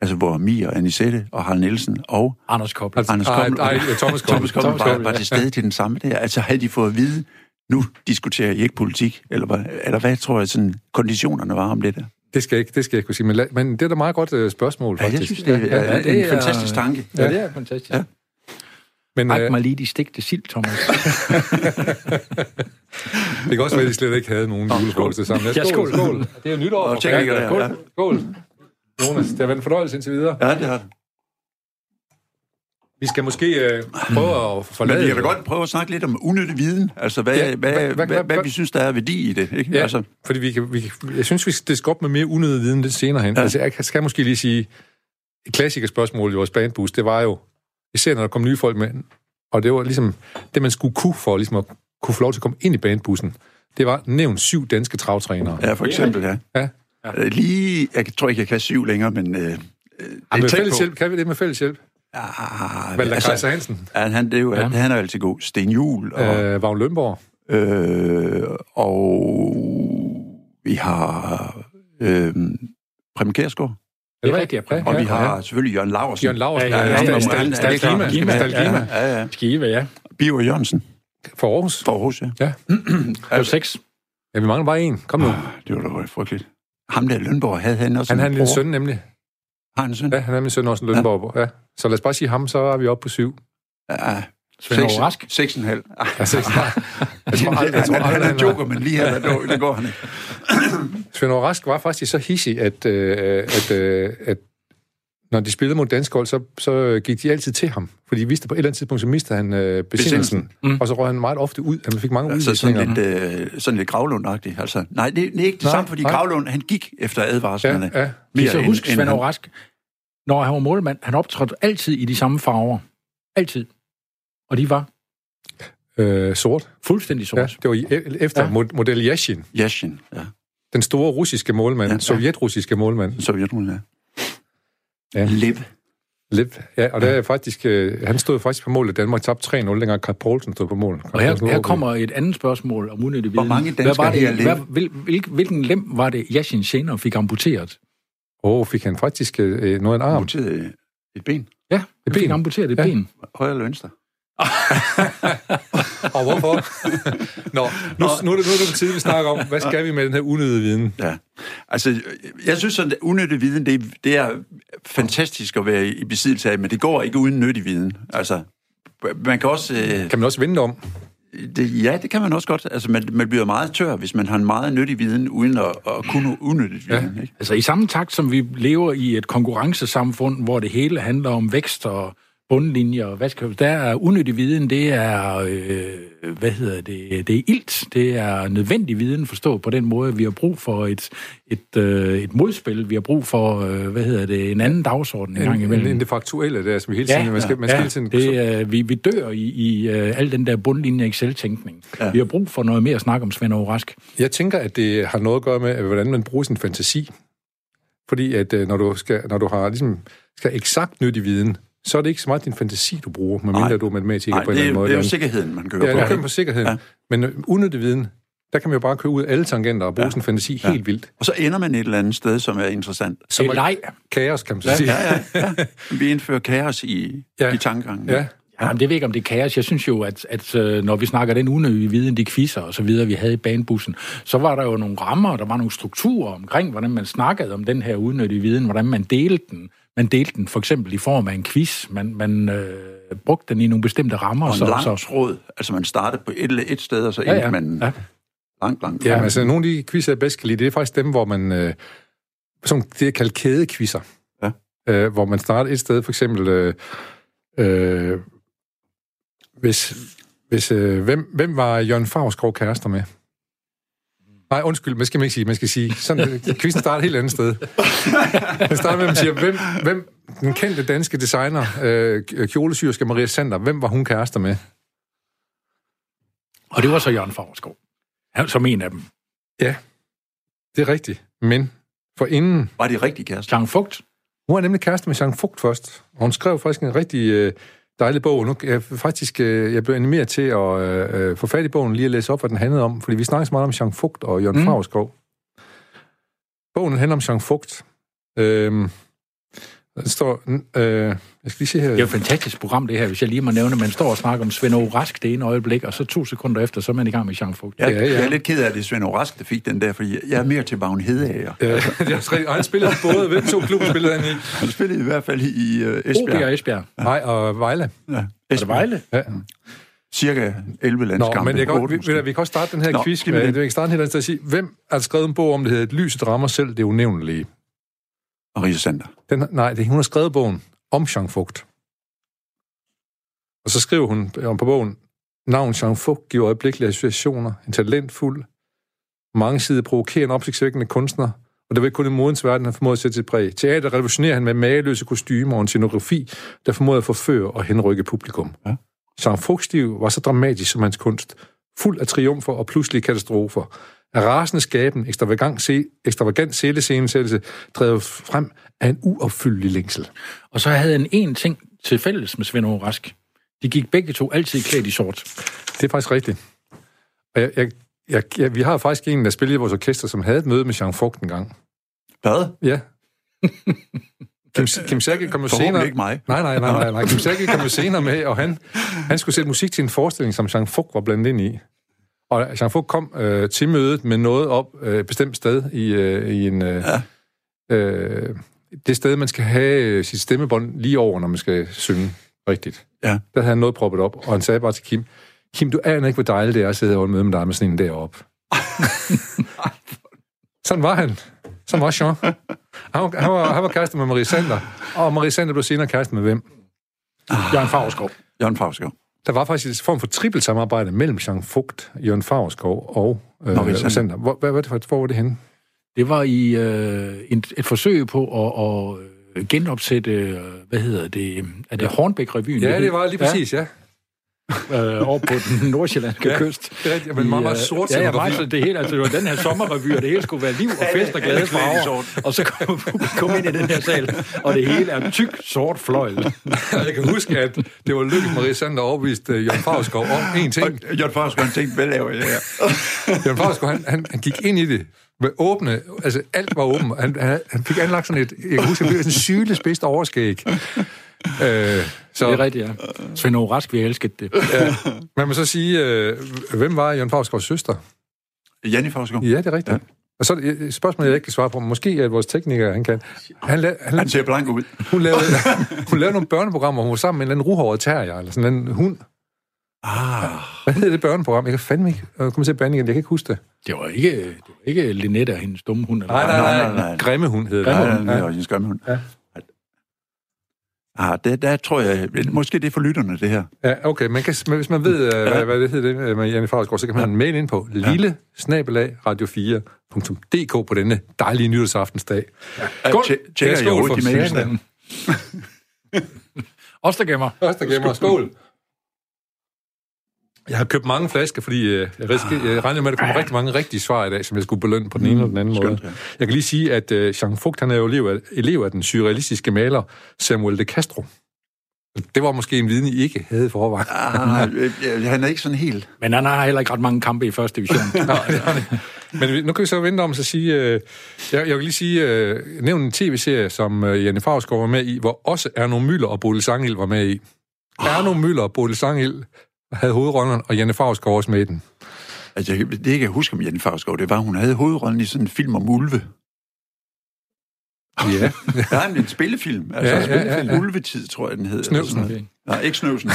C: Altså, hvor Mia og Anisette og Harald Nielsen og
B: Anders Koppel.
C: Anders
A: Altså, Ej,
C: Kommel.
A: ej, ja, Ah, Thomas Koppel.
C: [LAUGHS] Thomas Kommel
A: Thomas
C: var,
A: Koppel,
C: var
A: ja.
C: til stede til den samme der. Altså, havde de fået at vide, nu diskuterer I ikke politik, eller hvad, eller hvad tror jeg, sådan, konditionerne var om det der?
A: Det skal jeg ikke, det skal jeg ikke kunne sige, men, la- men det er da meget godt øh, spørgsmål,
C: Ja,
A: faktisk.
C: jeg synes, det er,
A: ja,
C: ja,
A: ja.
B: det
C: en
B: er-
C: fantastisk tanke.
B: Ja, det er fantastisk. Ja.
A: Men øh,
B: Ak mig lige de stegte sild, Thomas.
A: det kan også være, at de slet ikke havde nogen julefrokoster sammen.
B: Ja, skål.
A: Det er jo nytår.
C: Og tænker ikke,
A: skål.
C: ja.
A: skål. Jonas, det har været en fornøjelse indtil videre.
C: Ja, det har det.
A: Vi skal måske øh, prøve at
C: Men
A: forlade...
C: vi kan da godt prøve at snakke lidt om unyttig viden. Altså, hvad,
A: Ja,
C: ja,
A: hvad- hvad-
C: hvad, hvad, hvad,
A: hvad-
C: hvad, hvad vi synes, der er værdi i det. Ikke?
A: Ja,
C: Altså,
A: altså. fordi vi kan, vi, kan- jeg synes, vi skal diske op med mere unødig viden lidt senere hen. Ja. Altså, jeg skal måske lige sige, et klassikerspørgsmål i vores bandbus, det var jo, især når der kom nye folk med, og det var ligesom det, man skulle kunne for ligesom at kunne få lov til at komme ind i bandbussen, det var nævn syv danske travtrænere. Ja.
C: ja, for eksempel, ja.
A: Ja.
C: Øh, Lige, jeg tror ikke, jeg kan syv længere, men... Øh, øh, det er
A: med
C: tæt
A: fælles
C: på.
A: hjælp, kan vi det med fælles hjælp?
C: Ah,
A: Valder altså, Kaiser
C: altså,
A: Hansen,
C: han, han, det er jo, ja. han er jo altid god. Sten Juhl, og,
A: øh, Vagn Lønborg,
C: øh. Øh, og vi har øh, Prem Kjærsgaard,
B: Det er rigtigt, ja.
C: og
A: Ja,
C: vi har
A: ja.
C: selvfølgelig Jørgen Laursen.
A: Jørgen Laursen,
B: Ja, ja, ja.
A: Stal-
B: Ja,
A: Stal-
B: ja.
A: Stal- Klima,
B: Klima.
A: Stal- Klima
C: Ja, ja.
B: Skive, ja.
C: Biver Jørgensen
A: for Aarhus.
C: fra Aarhus, ja.
B: Det var seks.
A: Ja, vi mangler bare en. Kom nu.
C: Det var da frygteligt. Ham der Lønborg, havde han også
A: Han har en lille
C: bror?
A: søn, nemlig.
C: Har han en søn?
A: Ja, han er min søn også en Lønborg. Ja. Så lad os bare sige ham, så er vi oppe på syv.
C: Ja.
B: Svend Aage Rask.
C: 6,5. Ah,
A: Altså, Ja, seks. Jeg tror aldrig, jeg tror
C: han,
A: aldrig,
C: han, han er
A: han
C: joker, men lige her, der, der går han ikke.
A: Svend Aage Rask var faktisk så hissig, at, øh, at, øh, at når de spillede mod dansk hold, så, så gik de altid til ham. Fordi de vidste, at på et eller andet tidspunkt, så mistede han øh, besindelsen. Mm. Og så røg han meget ofte ud. Han fik mange
C: Altså
A: udvisninger.
C: sådan lidt, øh, sådan lidt gravlund altså. Nej, det, det er ikke det
A: Nej,
C: samme, fordi
A: nej.
C: Gravlund, han gik efter advarslerne.
A: Ja, ja.
B: Vi så husk,
C: end
B: Svend
C: han-
B: Aage Rask, når han var målmand, han optrådte altid i de samme farver. Altid. Og de var
A: Øh, sort.
B: fuldstændig sorte.
A: Ja, det var i, e- efter ja.
B: Ja.
A: model Yashin,
C: Yashin, ja.
A: den store russiske målmand, ja.
C: Ja.
A: sovjetrussiske målmand.
C: Sovjetunionen, ja.
A: Ja.
C: ja. Lib.
A: Lev. Ja, og der er faktisk, øh, han stod faktisk på målet. Danmark tabte 3-0, dengang Carl Poulsen stod på målet.
B: Og her, her kommer et andet spørgsmål om unødig viden.
C: mange danskere
B: hvad var
C: her
B: det,
C: lever?
B: hvad, hvil, hvil, Hvilken lem var det, Yashin senere fik amputeret?
A: Åh, oh, fik han faktisk øh, noget af en arm.
C: Muteret et ben.
B: Ja, det
A: ben.
B: fik amputeret et
A: Ja.
B: ja. ben.
C: Højre eller venstre?
A: Og [LAUGHS] hvorfor? Nå, nu, nu, er det, nu er det på tide, vi snakker om, hvad skal vi med den her unødige viden?
C: Ja. Altså, øh, jeg synes, at unyttig viden, det, det er fantastisk at være i i besiddelse af, men det går ikke uden nyttig viden. Altså, man kan også... Øh,
A: Kan man også vende om?
C: det, ja, det kan man også godt. Altså, man, man bliver meget tør, hvis man har en meget nyttig viden, uden at, at kunne unyttig viden. Ja. Ikke?
B: Altså i samme takt, som vi lever i et konkurrencesamfund, hvor det hele handler om vækst og bundlinjer, og hvad skal, der er unødig viden, det er, øh, hvad hedder det, det er ilt, det er nødvendig viden, forstået på den måde, vi har brug for et, et, øh, et modspil, vi har brug for, øh, hvad hedder det, en anden dagsorden en gang
A: End,
B: imellem.
A: end det faktuelle der, som vi hele tiden... man skal, man skal hele tiden
B: det, er, vi, vi dør i, i øh, al den der bundlinje Excel-tænkning. Ja. Vi har brug for noget mere at snakke om Svend Aage Rask.
A: Jeg tænker, at det har noget at gøre med, øh, hvordan man bruger sin fantasi. Fordi at øh, når du, skal, når du har ligesom, skal have eksakt nyttig viden, så er det ikke så meget din fantasi, du bruger, medmindre
C: Nej.
A: du er matematiker
C: Nej,
A: på en
C: det,
A: eller anden
C: er-
A: måde.
C: det er jo
A: Eller-
C: sikkerheden, man kører
A: Ja,
C: på.
A: der
C: ikke?
A: kører på sikkerheden. Ja.
C: Ja.
A: Men øh, unødig viden, der kan man jo bare køre ud af alle tangenter og bruge ja. sin fantasi ja. helt vildt.
C: Og så ender man et eller andet sted, som er interessant.
B: Så det er
A: man-
B: leg.
A: Kaos, kan man så ja. sige.
C: Ja, ja, ja. Vi indfører kaos i,
A: Ja.
C: ja. i tankegangen.
A: Ja.
B: Jamen, det ved jeg ikke, om det er kaos. Jeg synes jo, at, at øh, når vi snakker den unødige viden, de quizzer og så videre, vi havde i banebussen, så var der jo nogle rammer, og der var nogle strukturer omkring, hvordan man snakkede om den her unødige viden, hvordan man delte den. Man delte den for eksempel i form af en quiz. Man, man øh, brugte den i nogle bestemte rammer.
C: Og en
B: så,
C: lang
B: så,
C: tråd. Altså, man starter på et eller et sted, og så
B: ja,
C: endte
B: ja,
C: man
B: ja.
C: langt, langt.
A: Ja,
C: frem.
A: men altså, nogle af de quizzer, jeg bedst kan lide, det er faktisk dem, hvor man... Øh, som det er kaldt kædekvisser.
C: Ja.
A: Øh, hvor man starter et sted, for eksempel... Øh, øh, hvis, hvis, øh, hvem, hvem var Jørgen Favsgaard kærester med? Nej, undskyld, man skal man ikke sige. Man skal sige, sådan, øh, quizzen starter et helt andet sted. Den starter med, at man siger, hvem, hvem den kendte danske designer, øh, kjolesyrske Maria Sander, hvem var hun kærester med?
B: Og det var så Jørgen Favsgaard, Han- som en af dem.
A: Det er rigtigt, men for inden
C: Var det rigtig kæreste?
B: Jean Fugt.
A: Hun var nemlig kæreste med Jean Fugt først, og hun skrev faktisk en rigtig øh, dejlig bog. Nu, jeg, faktisk, øh, jeg blev animeret til at øh, øh, få fat i bogen, lige at læse op, hvad den handlede om, fordi vi snakkede så meget om Jean Fugt og Jørgen mm.
B: Mm.
A: Favskov. Bogen handler om Jean Fugt. Øhm, der står... Øh, jeg skal lige se her...
B: Det er jo et fantastisk program, det her, hvis jeg lige må nævne. Man står og snakker om Svend Aage Rask det ene øjeblik, og så to sekunder efter, så er man i gang med Jean Fugt.
C: Jeg,
A: Ja,
C: ja,
A: ja.
C: ja. jeg er lidt ked af, at det er Svend Aage Rask, der fik den der, fordi jeg er mere til Vagn Hedeager.
A: Øh, [LAUGHS] det er også rigtigt. Og han spillede både... Hvem to klubber spillede han i?
C: Han spillede i hvert fald i uh,
B: OB
C: Esbjerg.
B: og Esbjerg.
A: Nej, og Vejle.
C: Ja.
B: Er det Vejle?
A: Ja.
C: Cirka 11
A: Nå,
C: landskampe.
A: men jeg kan, godt-
C: Otte
A: vi,
C: måske.
A: vi, vi kan også starte den her Nå,
C: Nå,
A: quiz øh,
C: skal vi
A: med, vi
C: det?
A: kan starte den her sted og sige, hvem har skrevet en bog om, det hedder Et lyset rammer selv det unævnlige?
C: Og Rita Sander.
A: Den, nej, det, hun har skrevet bogen om Jean Fugt. Og så skriver hun om på bogen, navn Jean Foucault giver øjeblikkelige associationer, en talentfuld, mangesidig, provokerende, opsigtsvækkende kunstner, og det var ikke kun i modens verden, han formåede at sætte sit præg. Teater revolutionerer han med mageløse kostymer og en scenografi, der formåede at forføre og henrykke publikum. Ja. Jean Foucault's liv var så dramatisk som hans kunst, fuld af triumfer og pludselige katastrofer. Af rasende skaben, ekstravagant, se, ekstravagant sælescenesættelse, drevet frem af en uopfyldelig længsel.
B: Og så havde han en ting til fælles med Svend Åge Rask. De gik begge to altid klædt i sort.
A: Det er faktisk rigtigt. Og jeg, jeg, jeg, jeg, vi har faktisk en, der spillede i vores orkester, som havde et møde med Jean Fugt en gang.
C: Hvad?
A: Ja. Kim, Kim Særke kom jo senere...
C: ikke mig.
A: Nej, nej, nej, nej, nej. Kim Særke kom jo senere med, og han, han skulle sætte musik til en forestilling, som Jean Fugt var blandt ind i. Og Jean Fugt kom øh, til mødet med noget op øh, et bestemt sted i, øh, i en... Øh, ja. øh, det sted, man skal have øh, sit stemmebånd lige over, når man skal synge rigtigt.
C: Ja.
A: Der havde han noget proppet op, og han sagde bare til Kim, Kim, du aner ikke, hvor dejligt det er at sidde og holde møde med dig med sådan en [LAUGHS] deroppe. sådan var han. Sådan var Jean. Han var, han var, han var kæreste med Marie Sander, og Marie Sander blev senere kæreste med hvem? Ah.
B: Jørgen Favreskov.
C: Jørgen Favreskov.
A: Der var faktisk en form for trippelt samarbejde mellem Jean Fugt, Jørgen Favreskov og øh,
C: Marie Sander.
A: Marie Sander. Hvor, hvad, hvad, hvor, hvor var det henne?
B: Det var i øh, et, et forsøg på at, at genopsætte, øh, hvad hedder det, er det Hornbæk-revyen?
A: Ja, det var lige præcis, ja.
B: øh, over på den nordsjællandske
A: Ja,
B: ja, kyst.
A: det er rigtigt, men meget, meget
B: øh,
A: sort
B: Ja, ja,
A: scenografi.
B: meget, så det hele, altså det var den her sommerrevy, og det hele skulle være liv og fest og glade
C: alle klædt i
B: farver. Og så kom publikum ind i den her sal, og det hele er tyk sort fløjl.
A: [LAUGHS] Jeg kan huske, at det var lykkeligt, Marie Sander overbeviste øh, Jørgen Favreskov om én ting.
C: Og Jørgen Favreskov, han tænkte, hvad laver jeg
A: [LAUGHS]
C: her?
A: Jørgen Favreskov, han, han, han gik ind i det med åbne, altså alt var åbent. Han, han, han fik anlagt sådan et, jeg kan huske, det blev sådan en sylespidst overskæg. Øh,
B: Det er
A: så
B: rigtigt, ja. Svend Åge Rask, vi elskede det.
A: man må så sige, øh, hvem var Jørgen Favskovs søster?
C: Janne Favreskov.
A: Ja, det er rigtigt. Ja. Og så er det et spørgsmål, jeg ikke kan svare på. Måske at vores tekniker, han kan. Han, la- han,
C: Han ser blank ud.
A: hun, lavede, [LAUGHS] hun lavede nogle børneprogrammer, hvor hun var sammen med en eller anden ruhåret terrier, eller sådan en hund.
C: Ah,
A: Hvad hedder det børneprogram? Jeg kan fandme ikke øh, komme til at bande igen. Jeg kan ikke huske det.
B: Det var ikke, det var ikke Linette og hendes dumme hund. Eller
C: nej, nej, nej.
A: Grimme hund hed det.
C: ja, ja,
A: Ja.
C: det er også en skønhund. Ja. Ah, det, der tror jeg... Måske det er for lytterne, det her.
A: Ja, okay, man kan, men hvis man ved, øh, hvad, hvad det hedder det, øh, med Janne Favsgaard, så kan man ja. mail ind på lille radio4.dk på denne dejlige nytårsaftensdag.
C: Ja,
A: Skål!
C: tje-
A: Ja,
C: Tjekker jeg
A: skål for
C: overhovedet de mails der?
A: satan.
B: Os, der gemmer.
A: Først og gemmer. Skål! Jeg har købt mange flasker, fordi øh, jeg, risikerer, jeg regner med, at der kommer rigtig mange rigtige svar i dag, som jeg skulle belønne på den ene eller den anden måde.
C: skønt, ja.
A: Jeg kan lige sige, at øh, Jean Fugt, han er jo elev af, elev af den surrealistiske maler Samuel de Castro. Det var måske en viden, I ikke havde i forvejen.
C: Ah, øh, øh, han er ikke sådan helt...
B: Men han har heller ikke ret mange kampe i første division.
A: Nej, det har det. Men vi- nu kan vi så vente om så sige... Øh, jeg, jeg vil lige sige... Øh, nævn en tv-serie, som øh, Janne Favsgaard var med i, hvor også Erno Møller og Bodil Sangild var med i. Erno Møller og Bodil Sangild havde hovedrollerne, og Janne Favsgaard var også med i den.
C: Altså, jeg, det jeg kan huske om Janne Favreskov, det var, hun havde hovedrollen i sådan en film om ulve. [LAUGHS]
A: Ja.
C: Ja, men en spillefilm. Altså,
A: Ja,
C: ja,
A: ja,
C: ja, spillefilm.
A: ja, ja.
C: Ulvetid, tror jeg, den hed.
A: Snøvsen.
C: eller sådan noget. Nej, ikke Snøvsen.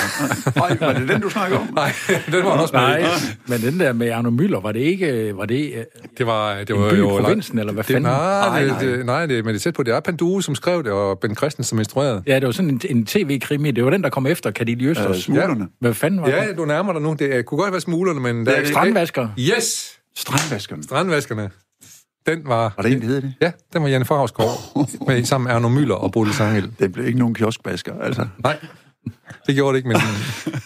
C: Nej, var det den, du snakker om?
A: [LAUGHS]
C: [LAUGHS]
A: Nej, den var han også med
B: Nej,
A: i.
B: men den der med Arno Møller, var det ikke... Var det, øh,
A: Det var, det
B: En
A: var
B: by i
A: jo...
B: provinsen, eller hvad
A: det,
B: fanden?
A: Nej,
C: Nej,
A: det,
C: nej.
A: det, nej det, men det er tæt på. Det er Pandue, som skrev det, og Ben Christensen, som instruerede.
B: ja, det var sådan en, en tv-krimi. Det var den, der kom efter Kadil
C: Øh,
B: Østers.
C: smuglerne.
B: Hvad fanden var det?
A: Ja, du nærmer dig nu. Det øh, kunne godt være smuglerne, men... Der,
C: Ja,
B: Strandvasker.
A: Yes!
C: Strandvaskerne.
A: Strandvaskerne. Den var...
C: Var det en, der hed det?
A: Ja, den var Janne Farhavsgaard
C: [LAUGHS]
A: med sammen med Erno Møller og Bodil Sangel.
C: Den blev ikke nogen kioskbasker, altså.
A: Nej, det gjorde det
C: [LAUGHS]
A: ikke, men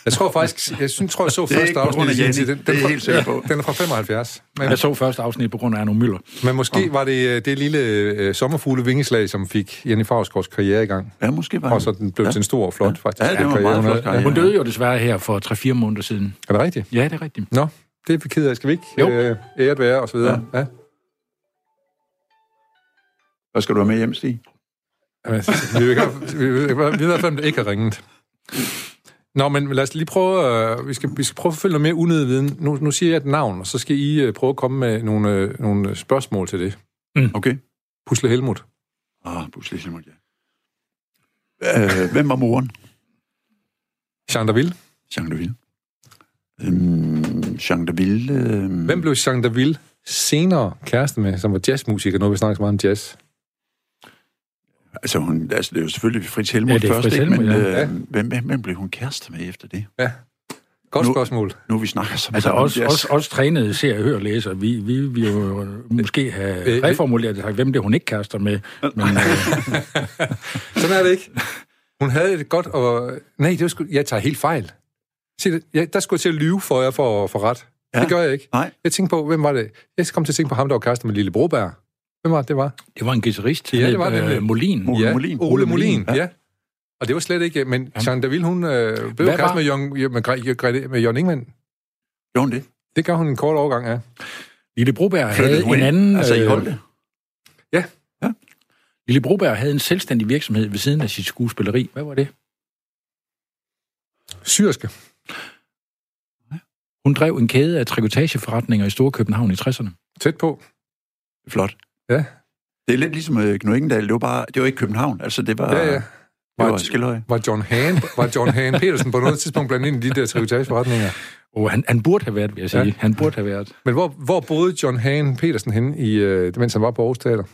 A: jeg tror faktisk, jeg synes, tror, jeg så
C: Det er
A: første
C: ikke på grund af
A: afsnit. i sin
C: Jenny.
A: tid.
C: Den, det er jeg helt sikker på.
A: den er fra 75, men,
B: Jeg så første afsnit på grund af Arno Møller.
A: men måske var det øh, det lille øh, sommerfugle vingeslag, som fik Jenny Favsgaards karriere i gang.
C: Ja, måske var
A: Og så den blev
C: ja.
A: til en stor og flot, faktisk.
C: Ja, det var
A: karriere,
C: en meget
A: hun
C: flot
A: havde.
C: karriere.
B: Hun døde jo desværre her for 3-4 måneder siden.
A: Er det rigtigt?
B: Ja, det er rigtigt.
A: Nå, det er vi ked af. Skal vi ikke
B: Jo.
A: øh, æret være og så videre? Ja. ja.
C: Hvad skal du have med hjem, Stig?
A: Jamen, vi vil ikke- vi vil vi vil i hvert fald ikke har ringet. Nå, men lad os lige prøve, øh, vi, skal, vi skal prøve at følge noget mere unødig viden. Nu, nu siger jeg et navn, og så skal I øh, prøve at komme med nogle, øh, nogle spørgsmål til det.
C: Okay.
A: Pusle Helmut.
C: Ah, pludselig så måtte jeg. Øh, hvem var moren?
A: Jean Daville.
C: Jean Deville. Øhm, Jean Deville... Øh,
A: Hvem blev Jean Daville senere kæreste med, som var jazzmusiker? Nu har vi snakket så meget om jazz.
C: Altså, hun, altså, det er jo selvfølgelig Fritz Helmut
B: Ja, det er
C: først,
B: Fritz
C: ikke?
B: Helmuth,
C: men
B: ja.
C: øh,
A: Ja.
C: Hvem, hvem, hvem blev hun kæreste med efter det?
A: Ja. Godt
C: Nu-
A: spørgsmål.
C: Nu vi snakker så meget
B: Altså
C: om
B: os,
C: jazz.
B: os, os trænede ser og hører læser, vi, vi vil jo måske
A: Øh, øh.
B: have reformuleret og sagt, hvem det er, hun ikke kaster med. Men, øh,
A: Sådan er det ikke. [LAUGHS] Hun havde et godt og... Nej, det var sgu... jeg tager helt fejl. Sig det. Jeg, der skulle jeg til at lyve for jer for at få ret. Ja.
C: Ja.
A: Det gør jeg ikke.
C: Nej,
A: Jeg tænkte på, hvem var det? Jeg kom til at tænke på ham, der var kæreste med Lille Broberg. Hvem var det, det var?
B: det var en guitarist,
A: Ja, det var det.
B: Øh, Molin.
C: Ole
A: ja.
C: Molin.
A: Ole Molin,
C: Ja.
A: ja. ja. Og det var slet ikke... Men Jean Daville, hun øh, blev
B: Hvad
A: kæreste
B: var-
A: med Jørgen, med, Gre- med Jørgen Ingman.
C: gjorde hun det?
A: Det gør hun en kort overgang af.
B: Lille Broberg
C: Flyttede
B: havde
C: hun
B: en
C: ind?
B: anden...
C: Altså, I
B: øh,
C: Holte?
B: Lille Broberg havde en selvstændig virksomhed ved siden af sit skuespilleri. Hvad var det?
A: Syrske.
B: Hun drev en kæde af trikotageforretninger i Storkøbenhavn i 60'erne.
A: Tæt på.
C: Flot.
A: Ja.
C: Det er lidt ligesom øh, Knud Ingendal. Det var, bare, det var ikke København. Altså, det var,
A: Ja, ja.
C: Det var
A: Var,
C: Skilhøj.
A: var John Hagen, var John Hagen Petersen på noget tidspunkt blandt ind i de der trikotageforretninger?
B: Og han, han burde have været, vil jeg sige.
A: Ja.
B: Ja. Han burde have været.
A: Men hvor, hvor boede John Hagen Petersen henne, i, øh, mens han var på Aarhus Teater?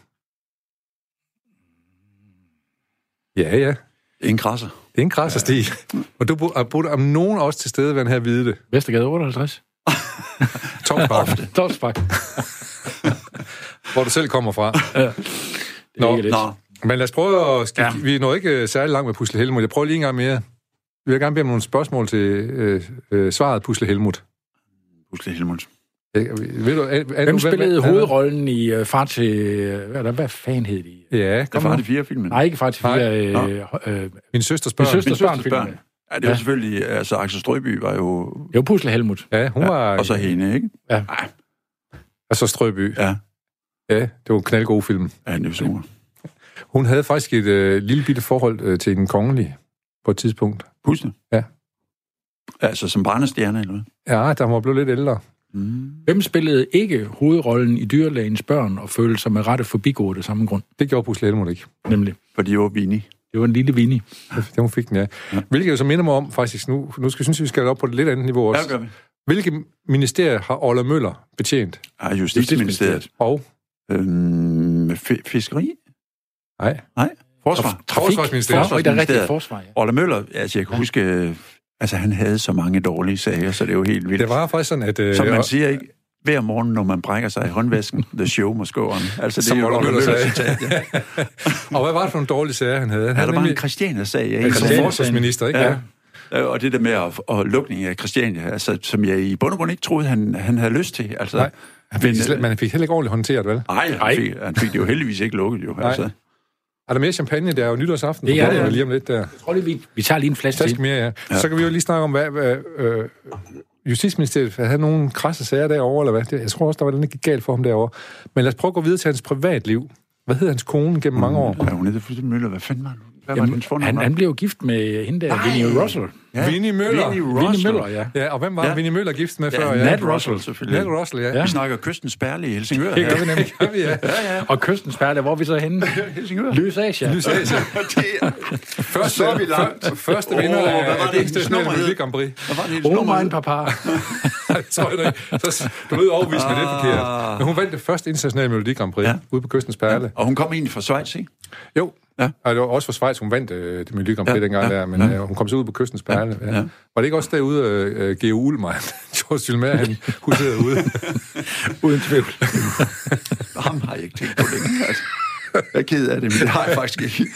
A: Ja, ja.
C: Ingen krasser.
A: Det er en krasser ja. Og du bo- og boede om nogen også til stede, ved den her vide det.
B: Vestergade 58.
A: Tom Bach,
B: Dolsbak.
A: hvor du selv kommer fra. Nå,
B: Nå,
C: Nå,
A: Men lad os prøve at skifte. Ja.
B: Ja.
A: Vi når ikke øh, særlig langt med Pusle Helmut. Jeg prøver lige en gang mere. Vi vil gerne bede om nogle spørgsmål til øh, øh, svaret Pusle Helmut.
C: husk det, Helmut.
A: Øh, ved du, er, er du,
B: Hvem spillede hovedrollen i uh, Far til... øh, Hvad, er der, hvad fanden hed de?
A: Ja,
C: Det
A: kom
C: var
A: nu.
C: det fire filmen.
B: Nej, ikke Far til
A: Nej.
B: 4. Øh,
C: Nå.
B: øh,
A: Min søster
B: min
A: spørger.
B: søsters
C: Min
B: børn
C: søsters børn.
B: filmene.
C: Ja, det var
B: Ja.
C: selvfølgelig... Altså, Axel Strøby var jo...
B: Det var Pusle Helmut.
A: Ja, hun var...
C: Og så hende, ikke?
A: Og så Strøby.
C: Ja.
A: Ja, det var en knaldgod film.
C: Ja, det var super.
A: Hun havde faktisk et øh, lille bitte forhold øh, til den kongelige på et tidspunkt.
C: Husk det.
A: Ja.
C: Altså, som barnestjerne eller hvad?
A: Ja, der var blevet lidt ældre.
C: Mm.
B: Hvem spillede ikke hovedrollen i Dyrlægens børn og følte sig med rette forbigået af samme grund?
A: Det gjorde Pusle Helmut ikke.
B: Nemlig,
C: Fordi var Vini.
B: det var en lille Vinnie.
A: Det hun fik den, ja. Hvilket jo så minder mig om, faktisk nu, nu skal, jeg synes vi skal op på et lidt andet niveau
C: Ja,
A: også.
C: det gør vi.
A: Hvilke ministerier har Olle Møller betjent?
C: Ah, Justitsministeriet.
A: Og
C: Øhm, fi- fiskeri?
A: Nej.
C: Nej. Forsvar?
A: Forsvarsministeriet.
B: Forsvar, det er rigtigt
C: Forsvarsministeriet.
B: forsvar, ja.
C: Olle Møller, altså jeg kan huske, øh, altså han havde så mange dårlige sager, så det er jo helt vildt.
A: det var faktisk sådan, at... Øh,
C: Som man siger ikke, hver morgen, når man brækker sig i
A: [LAUGHS]
C: håndvasken, the show må gå on. Altså, det
A: Som
C: er jo
A: Olle
C: Olle
A: Møller
C: Møller
A: sagde.
C: citat. Ja.
A: [LAUGHS] og hvad var det for en dårlig sager, han havde? Han
C: Ja,
A: havde
C: der var en Christiania-sag, ikke?
A: som
B: Christiania-sag.
A: forsvarsminister, ikke?
C: Ja.
A: Ja.
C: Øh, Og det der med at, og lukningen af Christiania, altså, som jeg i bund og grund ikke troede, han, han havde lyst til. Altså,
A: Nej. Han fik,
C: Men,
A: det slet- man fik heller ikke ordentligt håndteret, vel?
C: Nej, han, fik, han fik det jo heldigvis ikke lukket, jo. Altså.
A: Er der mere champagne? Det er jo nytårsaften.
B: Det
A: på
B: er det,
A: programmet
B: ja.
A: Lige om lidt, der.
B: Jeg tror lige, vi, vi tager lige en flaske
A: Task
B: til.
A: mere, ja. ja. Så kan vi jo lige snakke om, hvad... hvad øh, Justitsministeriet havde nogle krasse sager derovre, eller hvad? Det- Jeg tror også, der var noget, der gik galt for ham derovre. Men lad os prøve at gå videre til hans privatliv. Hvad hed hans kone gennem mange år?
C: Ja, hun hedder fuldstændig Møller. Hvad fanden var han? Hvad var
B: Jamen,
C: hendes fornavn?
B: han, han blev jo gift med hende der, Vinnie Russell.
C: Ja.
A: Vinnie Møller.
C: Vinnie
B: Vinnie
C: Russell.
B: Møller, ja.
A: Ja, og hvem var ja.
C: Ja.
A: Vinnie Møller gift med før?
C: Nat
B: Russell,
C: selvfølgelig.
A: Nat Russell, ja.
B: Ja.
A: ja.
C: Vi snakker kystens perle i Helsingør.
A: Det gør vi nemlig, gør vi, ja.
B: Og kystens perle, hvor er vi så henne?
C: Helsingør.
B: Løs Asia.
A: Lys Asia. Første,
C: Så er vi langt.
A: fyr- Første vinder
C: Åh, hvad var
A: af
C: det,
A: det
C: hendes
A: internationale
C: nummer hed?
A: Melodi Grand Prix.
C: Hvad var det, hendes
B: Oh
C: nummer?
B: my papa.
A: Jeg tror jeg da ikke. Så du lød overbevist med det er forkert.
C: Ah.
A: Men hun vandt det første internationale Melodi Grand Prix
C: Ja.
A: ude på Kystens Perle.
C: Og hun kom egentlig fra Schweiz, ikke?
A: Jo, ja.
C: Ja.
A: og det var også for Schweiz, hun vandt øh, det Melodi Grand Prix ja.
C: Ja,
A: dengang
C: ja,
A: der, men ja. øh, hun kom så ud på Kystens Perle. Ja. Ja.
C: ja.
A: Var det ikke også derude, øh, øh, Geo Ulmer, [LAUGHS] George Gilmer, han huserede
C: [LAUGHS]
A: ude?
B: Uden tvivl.
C: Ham har jeg ikke tænkt på længe. Altså. Jeg er ked af det, men det har jeg faktisk ikke.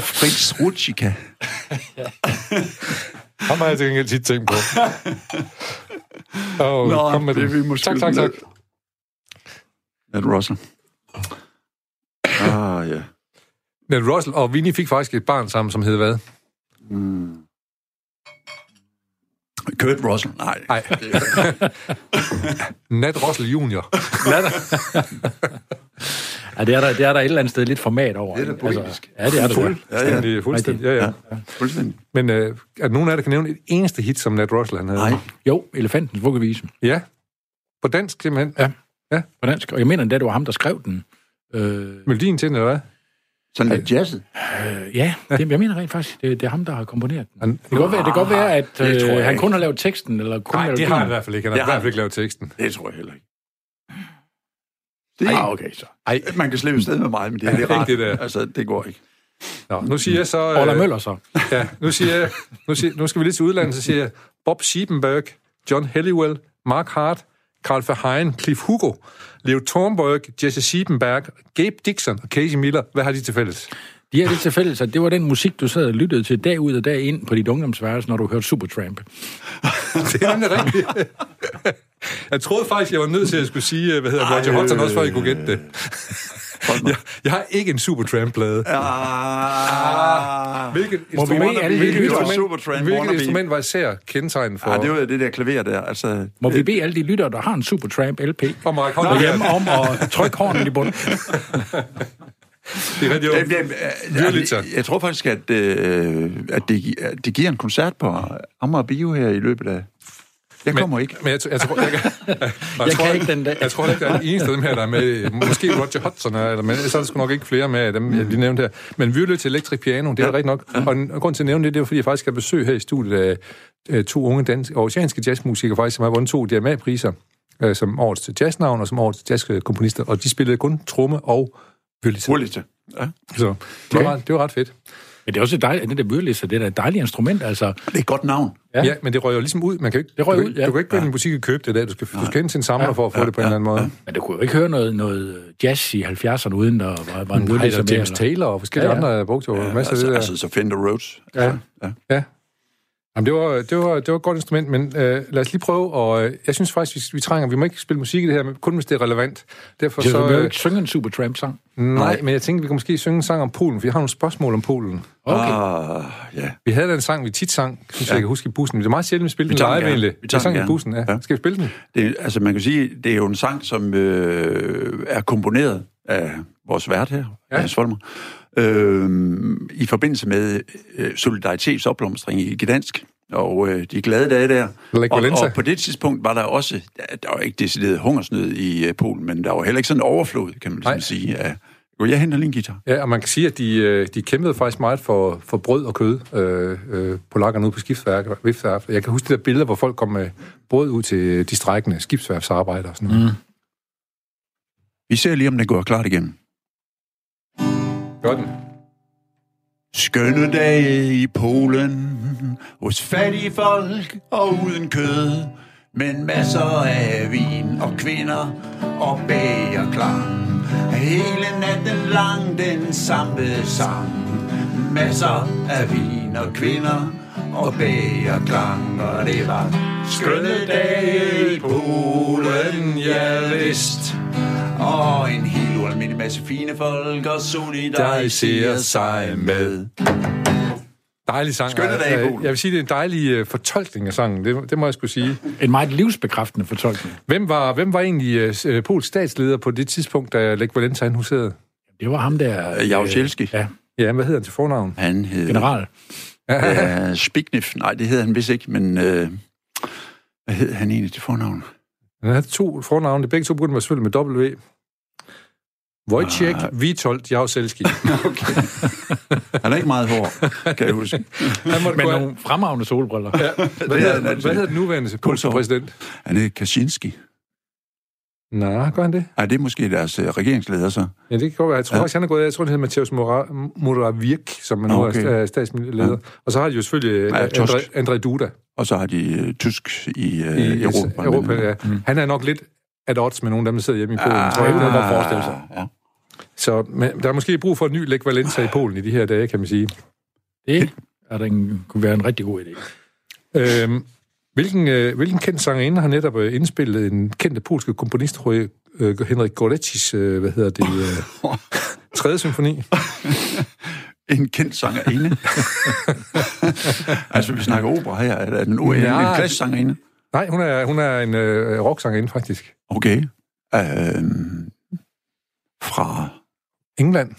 C: Fritz Rutschica.
A: Ham har jeg til gengæld tit tænkt på. Og
C: Nå,
A: kom med
C: det er
A: den.
C: vi måske
A: tak, tak, tak.
C: lidt- Nat Russell. Ah, ja.
A: Ned Russell og Vinnie fik faktisk et barn sammen, som hed hvad?
C: Kurt Russell. Nej.
A: Nej. [LAUGHS] Nat Russell Junior.
B: [LAUGHS] Ja, det er, der, det er der et eller andet sted lidt format over.
C: Det er da
B: ikke? Altså,
C: poetisk.
B: ja, det er der.
C: Fuld.
B: da.
C: Ja, ja.
A: Det er fuldstændig, ja, ja.
C: Fuldstændig.
A: Men øh, at nogen af jer der kan nævne et eneste hit, som Nat Russell han havde?
C: Nej.
B: Jo, Elefantens vuggevise
A: Ja. På dansk simpelthen. Ja.
B: Ja. på dansk. Og jeg mener endda, det var ham, der skrev den. Øh,
A: Melodien til den, eller hvad?
C: Sådan lidt jazzet.
B: øh, ja, det, jeg mener rent faktisk, det, det er ham, der har komponeret den.
A: Han-
B: Det kan godt være, det kan godt være at
C: det tror jeg
B: øh, han
C: ikke.
B: kun har lavet teksten, eller kun
A: Nej, det
B: melodien.
A: har han i hvert fald ikke. Han har i
C: Det har
A: hvert
C: han.
A: fald ikke lavet teksten.
C: Det tror jeg heller ikke. Det,
B: Ah, okay, så.
A: Ej,
C: Man kan slippe sted med mig, men det, er det
A: Ikke
C: er rart.
A: det der.
C: Altså, det går ikke.
A: nå, nu siger jeg så... øh,
B: Ola Mm. Møller så.
A: Ja, nu, siger jeg, nu, siger, nu skal vi lige til udlandet, så siger jeg Bob Siebenberg, John Helliwell, Mark Hart, Carl Verheyen, Cliff Hugo, Leo Thornburg, Jesse Siebenberg, Gabe Dixon og Casey Miller. Hvad har de til
B: [LAUGHS]
A: fælles?
B: De har det til fælles, at det var den musik, du sad og lyttede til dag ud og dag ind på dit ungdomsværelse, når du hørte Supertramp.
A: Det er nemlig rigtigt. [LAUGHS] Jeg troede faktisk, jeg var nødt til at skulle sige, øh, hvad hedder Roger Hodgson også, før I kunne gætte det. [LAUGHS] Jeg, jeg har ikke en Supertramp-plade.
C: Ah,
A: Hvilket
B: vi
A: instrument,
B: bede alle de
A: hvilket
B: lyttere-
A: instrument,
C: Supertramp,
A: hvilket
C: wannabe.
A: instrument var især kendetegnet for?
C: ah, det var jo det der klaver der. Altså,
B: Må vi bede alle de lyttere, der har en Supertramp LP,
A: Om at række hånden op.
B: derhjemme om at trykke hånden i bunden.
A: det er rigtig
C: Jamen,
A: jo-
C: jamen, øh,
A: Violiter.
C: jeg, jeg tror faktisk, at, øh, at, det, gi- at det giver en koncert på Amager Bio her i løbet af... Jeg kommer ikke.
A: Men jeg, t- jeg, tror, jeg, kan, jeg, jeg,
B: kan
A: tror,
B: ikke den dag.
A: Jeg tror ikke, der er en eneste af dem her, der er med. Måske Roger Hodgson, er- eller, men så er der sgu nok ikke flere med af dem, jeg lige nævnte her. Men vi er jo nødt til Electric Piano, det er ja. rigtigt nok. Og en- og grund til at nævne det, det er fordi, jeg faktisk har besøg her i studiet af øh, to unge danske, oceanske jazzmusikere, faktisk, som har vundet to DMA-priser øh, som årets jazznavn og som årets jazzkomponister, og de spillede kun tromme og violin.
C: Hurtigt. Ja.
A: Så det var, ret- det var ret fedt.
B: Men det er også dejligt, at den der myrliste, det er da et dejligt instrument, altså.
C: Det er et godt navn.
A: Ja. ja, men det røg jo ligesom ud. Man kan jo ikke,
B: Det røg
A: du, kan
B: ud,
A: ikke-
B: ja.
A: du kan ikke gå ind i en butik og købe det i dag. Du skal, du skal ind til en samler for at få det på en eller anden måde.
B: Men du kunne jo ikke høre noget, noget jazz i 70'erne, uden der var, var en
A: Nej, der er
B: myrliste med.
A: Mm, James
B: eller-
A: Taylor og forskellige
B: Ja,
A: ja,
B: ja.
A: ja. andre, der brugte jo ja, masser
C: altså,
A: af det der.
C: altså, så Fender Rhodes.
A: Ja.
C: Altså, ja.
A: Ja. Jamen, det, var, det, var, det var et godt instrument, men øh, lad os lige prøve, og øh, jeg synes faktisk, vi, vi trænger, vi må ikke spille musik i det her, men kun hvis det er relevant. Derfor
B: Så
A: så,
B: du kan jo
A: øh,
B: ikke synge en Supertramp-sang.
A: nej, men jeg tænkte, vi kunne måske synge en sang om Polen, for jeg har nogle spørgsmål om Polen.
B: Okay.
C: Ah, ja.
A: Vi havde da en sang, vi tit sang, synes ja. jeg, jeg kan huske i bussen. Det er meget sjældent, vi spiller
C: Vi
A: den
C: tager den
A: live
C: gerne.
A: egentlig.
C: Vi tager
A: sang
C: den
A: i
C: gerne.
A: bussen, ja.
C: Ja.
A: Skal vi spille den?
C: Det, altså, man kan sige, det er jo en sang, som øh, er komponeret af vores vært her,
A: Ja.
C: ja. Hans Volmer, øh, i forbindelse med øh, solidaritetsopblomstring i Gdansk, og øh, de glade dage der.
A: Lech
C: Og,
A: Walesa.
C: og på det tidspunkt var der også, der, der var ikke decideret hungersnød i øh, Polen, men der var heller ikke sådan en overflod, kan man
A: Nej.
C: ligesom sige. Af, jo, jeg henter lige en guitar.
A: Ja, og man kan sige, at de, øh, de kæmpede faktisk meget for, for brød og kød, øh, øh, polakkerne ude på skibsværket. Viftværft. Jeg kan huske de der billeder, hvor folk kom med brød ud til de strækkende skibsværfsarbejdere og sådan noget. Mm.
C: Vi ser lige, om det går klart igennem.
A: Gør den.
C: Skønne dage i Polen, hos fattige folk og uden kød, men masser af vin og kvinder og bagerklang. Hele natten lang den samme sang. Masser af vin og kvinder og bagerklang, og det var skønne dage i Polen, ja vist. Og en helt ualmindelig masse fine folk og solidariserer sig med.
A: Dejlig sang.
C: Skønne dage i
A: Øh,
C: Polen.
A: Jeg vil sige, det er en dejlig øh, fortolkning af sangen, det, det må jeg skulle sige.
B: En meget livsbekræftende fortolkning.
A: Hvem var, hvem var egentlig øh, s- øh, Pols statsleder på det tidspunkt, da Lech Walesa han huserede?
B: Det var ham der... øh,
C: Jaruzelski.
B: Ja,
A: Ja, hvad hedder han til fornavn?
C: Han hed...
B: general.
C: [LAUGHS] Ja, Spiknif. Nej, det hedder han vist ikke, men... Øh, hvad hed han egentlig til fornavn?
A: Han havde to fornavne, begge to begyndte med selvfølgelig med W. Wojciech Witold Jaruzelski.
C: Han er ikke meget hård, kan jeg huske.
A: Han måtte
B: Med
A: gå af-
B: nogle fremragende
A: [LAUGHS]
B: solbriller.
A: Hvad
C: Det er
A: hedder,
C: han altid.
A: hvad hedder den nuværende polske
C: Kulsov.
A: præsident?
C: Han hed Kaczynski.
A: Nej, gør han det?
C: Ej, det er måske deres øh, regeringsleder, så.
A: Ja, det kan godt være. Jeg tror faktisk, han er gået af. Jeg tror, han hedder Mateusz Mora- Morawiecki, som man nu
C: Okay.
A: er sta- statsministerleder. Ja. Og så har de jo selvfølgelig
C: Ja,
A: ja,
C: Tusk.
A: André, André Duda
C: Og så har de øh, tysk i, øh,
A: i øh,
C: Europa.
A: Europa ja. mm. Han er nok lidt at odds med nogen, af dem der sidder hjemme i Polen. Ah, tror jeg,
B: det
A: det
B: er
A: er nok
B: noget, man
A: forestille
B: forestiller
A: sig.
B: sig.
C: Ja.
A: Så men, der er måske brug for en ny Lech Valenza i Polen i de her dage, kan man sige.
B: Det er den, kunne være en rigtig god idé.
A: Øhm, hvilken, øh, hvilken kendt sangerinde har netop øh, indspillet en kendte polske komponist, Roy- øh, Henrik Goretzis, øh, hvad hedder det, [LAUGHS] øh, tredje symfoni?
C: En
A: [LAUGHS]
C: kendt sangerinde. altså, vi snakker opera her. Er er den en,
A: Ja.
C: en klassisk sangerinde?
A: Nej, hun er, hun er en øh, rocksangerinde, faktisk.
C: Okay. Øh, fra...
A: England.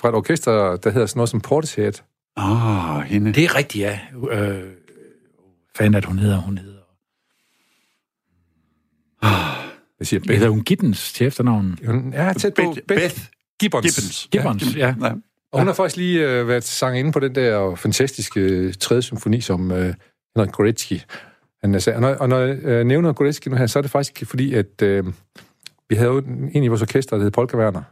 A: Fra et orkester, der hedder sådan noget som Portishead.
C: Ah, hende.
B: Det er rigtigt, ja. Øh, fanden, at hun hedder, hun hedder.
A: Jeg siger
B: Hedder
A: Beth.
B: hun Gittens til efternavnen?
A: Hun er tæt på
C: Beth,
A: Beth,
C: Beth
A: Gibbons.
C: Gibbons.
B: Gibbons, ja.
C: Ja.
A: Og hun har faktisk lige øh, været sangerinde på den der fantastiske øh, tredje symfoni, som øh, Henrik Goretzky han er, og når, og når jeg øh, nævner Goretzky nu her, så er det faktisk fordi, at øh, Vi havde jo en i vores orkester, der hed Polka Werner.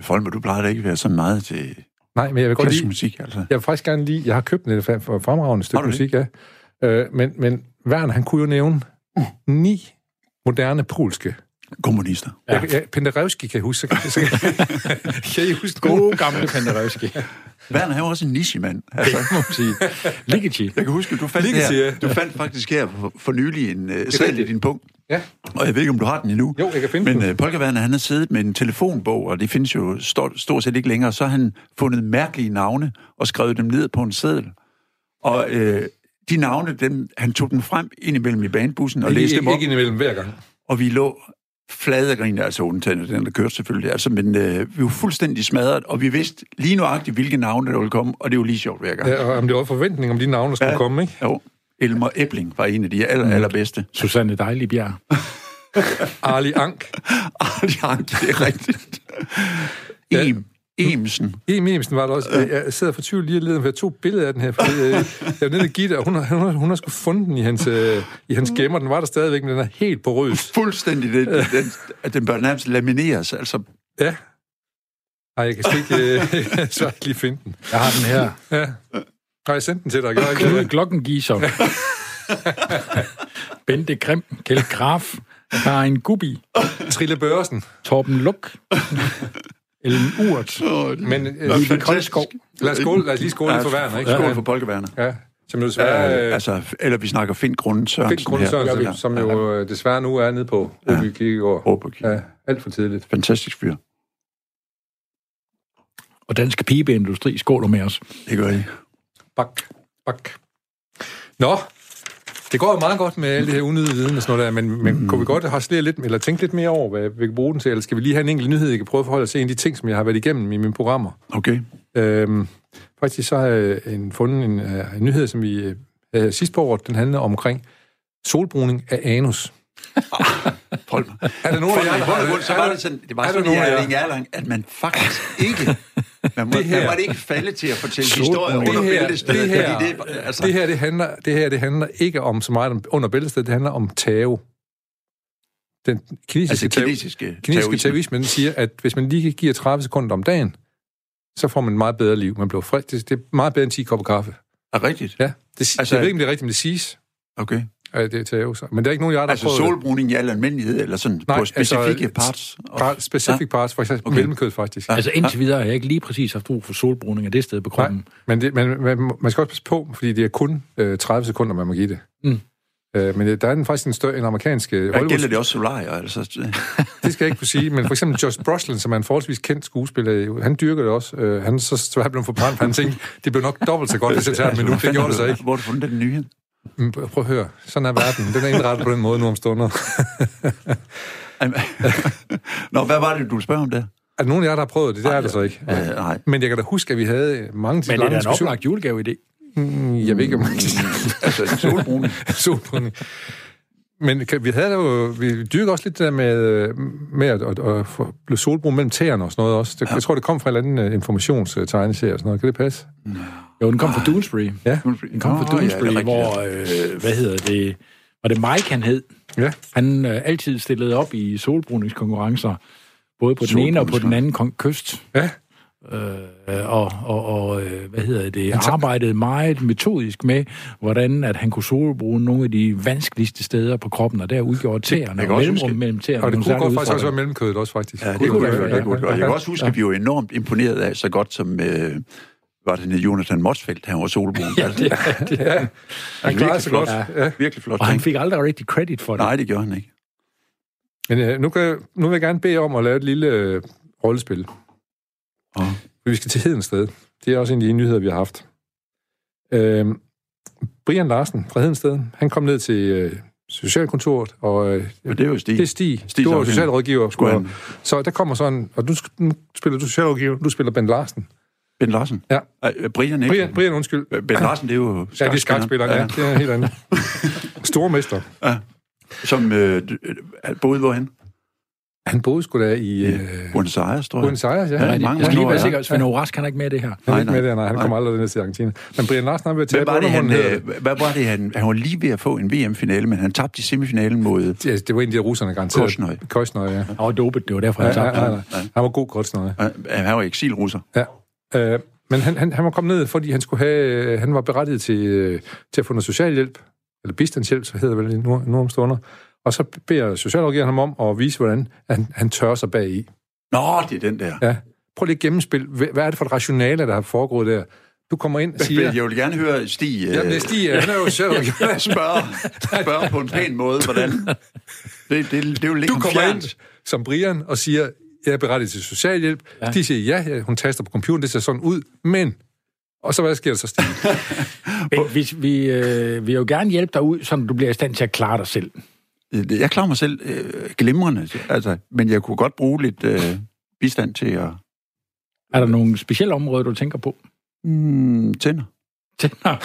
C: Folmer, du plejer da ikke at være så meget til
A: Nej, men jeg vil godt
C: klassisk
A: lide...
C: musik, altså.
A: Jeg vil faktisk gerne lide... Jeg har købt en lidt fra- fra- fremragende stykke
C: Har du det?
A: musik, ja. Øh, men, men Werner, han kunne jo nævne ni moderne polske.
C: Komponister.
A: Ja. Jeg, jeg, Penderewski kan jeg huske. Så kan, så kan,
C: [LAUGHS]
A: kan I huske nogen?
B: God [LAUGHS] gamle Penderewski.
C: Werner er jo også en nichemand. Altså,
B: Ligeti.
C: jeg kan huske, du fandt,
A: Lige til,
C: her,
A: ja.
C: du fandt faktisk her for, for nylig en uh, sæl i
A: rigtigt.
C: din punkt.
A: Ja.
C: Og jeg ved ikke, om du har den endnu.
A: Jo, jeg kan finde
C: Men
A: den.
C: øh, Polka Werner, han har siddet med en telefonbog, og det findes jo stort, stort set ikke længere. Så har han fundet mærkelige navne og skrevet dem ned på en seddel. Og øh, de navne, dem, han tog dem frem indimellem i banebussen og læste dem
A: Ikke,
C: op.
A: ikke imellem hver gang.
C: og vi lå flade og griner, altså undtagen af den, der kørte selvfølgelig, altså, men øh, vi var fuldstændig smadret, og vi vidste lige nuagtigt, hvilke navne der ville komme, og det var lige sjovt hver gang. Ja.
A: Ja, og om det var forventning om de navne, der skulle ja. komme, ikke?
C: Jo. Elmer Ebling var en af de
A: Mm.
C: aller,
A: [LAUGHS]
C: allerbedste.
B: Susanne Dejligbjerg.
A: Arli Ank. Ah,
C: Arne Anke, [LAUGHS] det er rigtigt. Em, Emsen.
A: E. Memsen var der også. Jeg- Jeg sidder for tvivl lige og leder, for jeg tog et billede af den her. Fordi, øh, jeg var nede og give det, og hun, har- hun, har- hun har sgu fundet den i hans, øh, i hans gemmer. Den var der stadigvæk, men den er helt på røs.
C: Fuldstændig. Den, den, at den bør nærmest lamineres. Altså,
A: Ja. Ej, jeg kan slet ikke, øh, [LAUGHS] jeg skal ikke lige finde den.
B: Jeg har den her.
A: Ja. Har jeg sendt den til dig? Gør jeg ikke
B: Knud
A: det?
B: Glockengiser. Bente Grim. Kjeld Graf. Karin Gubi.
C: [LAUGHS]
A: Trille Børsen.
B: Torben Luk. Ellen Urt.
A: Men øh,
B: Lille Koldskov.
A: lad os, skåle, lad os lige skåle lidt for værner, ikke?
C: Skål for polkeværner.
A: Ja, som jo desværre...
C: Ja,
A: Øh,
C: altså, eller vi snakker Fint Grunden Sørensen.
A: Finn Grunde
C: her.
A: Sørensen, som jo øh, desværre nu er nede på øh, Åby Kirkegård.
C: Råber-
A: Ja, alt for tidligt.
C: Fantastisk fyr.
B: Og Dansk Pibeindustri skåler med os.
C: Det gør I.
A: Bak, bak. Nå, det går jo meget godt med alle det her unødige viden og sådan noget der, men, men mm. kunne vi godt harcelere lidt, eller tænke lidt mere over, hvad vi kan bruge den til, eller skal vi lige have en enkelt nyhed, jeg kan prøve at forholde os til en af de ting, som jeg har været igennem i mine programmer?
C: Okay.
A: Øhm, faktisk så har jeg en, fundet en, øh, en nyhed, som vi øh, sidst på året, den handler omkring solbruning af anus.
C: Polmer.
A: Er der nogen af jer, der
C: Folk,
A: har
C: i bund
A: det?
C: og så var det sådan, det var
A: er der
C: sådan i
A: nogen af jer?
C: Erling Erlang, at man faktisk
A: [LAUGHS]
C: ikke, man må,
A: her-
C: man må ikke falde til at fortælle
B: Slut.
C: historier
B: Det
C: under
A: det her,
C: bæltestedet,
A: det her,
C: fordi det, er- altså,
A: det her, det handler, det her, det handler ikke om så meget om under bæltestedet, det handler om tave. Den kinesiske,
C: altså
A: altså, tave,
C: kinesiske,
A: kinesiske
C: terrorisme.
A: taoisme, den siger, at hvis man lige giver 30 sekunder om dagen, så får man et meget bedre liv. Man bliver frisk. Det, det er meget bedre end 10 kopper kaffe.
C: Er rigtigt?
A: Ja, det, si-
C: Altså-
A: jeg ved ikke, om det er rigtigt, men det siges,
C: Okay.
A: at det er tave. Så. Men der er ikke nogen, jeg har
C: Altså
A: prøvet det.
C: solbruning i al almindelighed, eller sådan
A: Nej,
C: på specifikke
A: altså,
C: parts?
A: Par, specific parts, for eksempel
C: Okay.
A: okay. mellemkød faktisk.
C: Ja.
B: Altså indtil videre har jeg ikke lige præcis haft brug for solbruning af det sted på
A: Nej,
C: Mm.
B: kroppen.
A: men det, man, man, man skal også passe på, fordi det er kun øh, 30 sekunder, man må give det.
B: Mm.
A: Øh, men øh, der er en, faktisk en større en amerikansk øh,
C: Hvad
A: Hollywood
C: gælder det også solarier? Altså,
A: Det skal jeg ikke kunne sige, men for eksempel Josh Brolin, som er en forholdsvis kendt skuespiller, han dyrker det også. Øh, han er så svært blevet forbrændt, for han tænkte, det blev nok dobbelt så godt, hvis jeg tager det, men nu det gjorde det så ikke.
C: Hvor har du fundet den nyhed?
A: Men Prøv at høre, sådan er verden. Den er indrettet på den måde nu om stunder.
C: Ej, men- [LAUGHS] Nå, hvad var det, du ville spørge om der?
A: Er der nogen af jer, der har prøvet det? Det er der så ikke.
C: Øh, nej.
A: Men jeg kan da huske, at vi havde mange
B: Men det er da en
A: diskussioner.
B: oplagt julegave i det.
A: Jeg ved ikke, om
C: Altså, solbruning.
A: solbrunning. Men kan, vi havde da jo, vi dyrkede også lidt det der med, øh, med at, at, at få- blive solbrun mellem tæerne og sådan noget også. Det, Jeg tror, det kom fra en eller anden øh, informationstegneserie og sådan noget. Kan det passe?
B: Jo, den kom fra Doonesbury.
A: Ja.
B: Den kom fra
C: Nå, ja, det er
B: Doonesbury,
C: rigtigt,
B: hvor, øh, hvad hedder det, var det Mike, han hed?
A: Ja.
B: Han øh, altid stillede op i solbruningskonkurrencer, både på den ene og på den anden kon- kyst.
A: Ja.
B: Øh, og, og, og øh, hvad hedder det, arbejdede meget metodisk med, hvordan at han kunne solbruge nogle af de vanskeligste steder på kroppen, og der udgjorde tæerne
C: kan
B: og
C: også
B: mellemrum
C: huske-
B: mellem tæerne.
A: Og det
B: nogle
A: kunne
B: særlige
A: godt faktisk også være
B: udfordringer.
A: mellemkødet også, faktisk.
C: Ja, det kunne det
B: være,
C: godt.
B: ja,
C: Det kunne det godt. Jeg kan
A: ja.
C: også huske, at vi var enormt imponeret af, så godt som, øh, var det Jonathan Motzfeldt, han var solbrun. ja, det,
A: Ja, han klarede sig godt. Ja.
C: Virkelig flot.
B: Og han
C: ting.
B: fik aldrig rigtig credit for det.
C: Nej, det gjorde han ikke.
A: Men øh, nu, kan, jeg- nu vil jeg gerne bede jer om at lave et lille øh, rollespil.
C: Åh.
A: Vi skal til Hedens sted. Det er også en af de nyheder, vi har haft. Øh, Brian Larsen fra Hedens sted, han kom ned til øh, Socialkontoret, og øh,
C: Men det er jo Stig.
A: det er Stig.
C: Stig
A: Stig du er jo
C: Sauken.
A: socialrådgiver.
C: Skulle
A: og-
C: han-
A: Så der kommer sådan, og du, sk- nu spiller du socialrådgiver, du spiller Ben Larsen.
C: Ben Larsen.
A: Ja.
C: Ej, øh, Brian, ikke?
A: Brian, Brian undskyld.
C: Øh, Ben Larsen, det er jo
A: Ja, det er skakspilleren, ja. Det er helt
C: [LAUGHS]
A: andet. Stormester.
C: Som øh, d- øh, boede hvorhen?
A: Han boede sgu da i...
C: I
A: Øh,
C: Buenos Aires, tror jeg.
A: Buenos Aires, ja.
C: Ja,
A: Han
B: Jeg
C: mange
B: skal lige
C: år,
B: være
C: ja.
B: sikker, at Svend Orask, han er ikke med i det her.
A: er ikke
C: Nej,
A: med
C: nej.
A: der, nej. Han kommer aldrig ned til Argentina. Men Brian Larsen, han vil tage
C: Hvad var det, han,
A: hedder det.
C: øh, hvad var det, han, han var lige ved at få en VM-finale, men han tabte i semifinalen mod...
A: Ja, det var en af de russerne, garanteret.
C: Kortsnøj.
A: Korsnøj, ja.
B: Han var dopet, det var derfor, han
A: Ja,
B: tabte.
A: ja, ja, ja. Han var god Korsnøj.
C: øh, Han var eksilrusser.
A: Ja. Øh, men han, han, han var kommet ned, fordi han, skulle have, øh, han var berettiget til, øh, til at få noget socialhjælp, eller bistandshjælp, så hedder det vel nu, nu om stunder. Og så beder socialrådgiveren ham om at vise, hvordan han, han tørrer sig bagi.
C: Nå, det er den der.
A: Ja. Prøv lige at gennemspil. Hvad hvad er det for et rationale, der har foregået der? Du kommer ind og siger...
C: Jeg vil gerne høre Stig øh,
A: Jamen, det er Stig, han er jo socialrådgiver.
C: spørge, [LAUGHS] spørge på en pæn måde, hvordan... Det, det, det er jo lidt
A: Du kommer
C: fjernt.
A: ind som Brian og siger, jeg er berettiget til socialhjælp. Ja. De siger, ja, ja, hun taster på computeren, det ser sådan ud, men... Og så hvad sker der så, Stig?
B: Men vi, vi øh, vil jo gerne hjælpe dig ud, så du bliver i stand til at klare dig selv.
C: Øh, Jeg klarer mig selv øh, glimrende, altså, men jeg kunne godt bruge lidt øh, bistand til at
B: Er der nogle specielle områder, du tænker på?
C: mm, tænder.
A: [LAUGHS]
B: Tænder?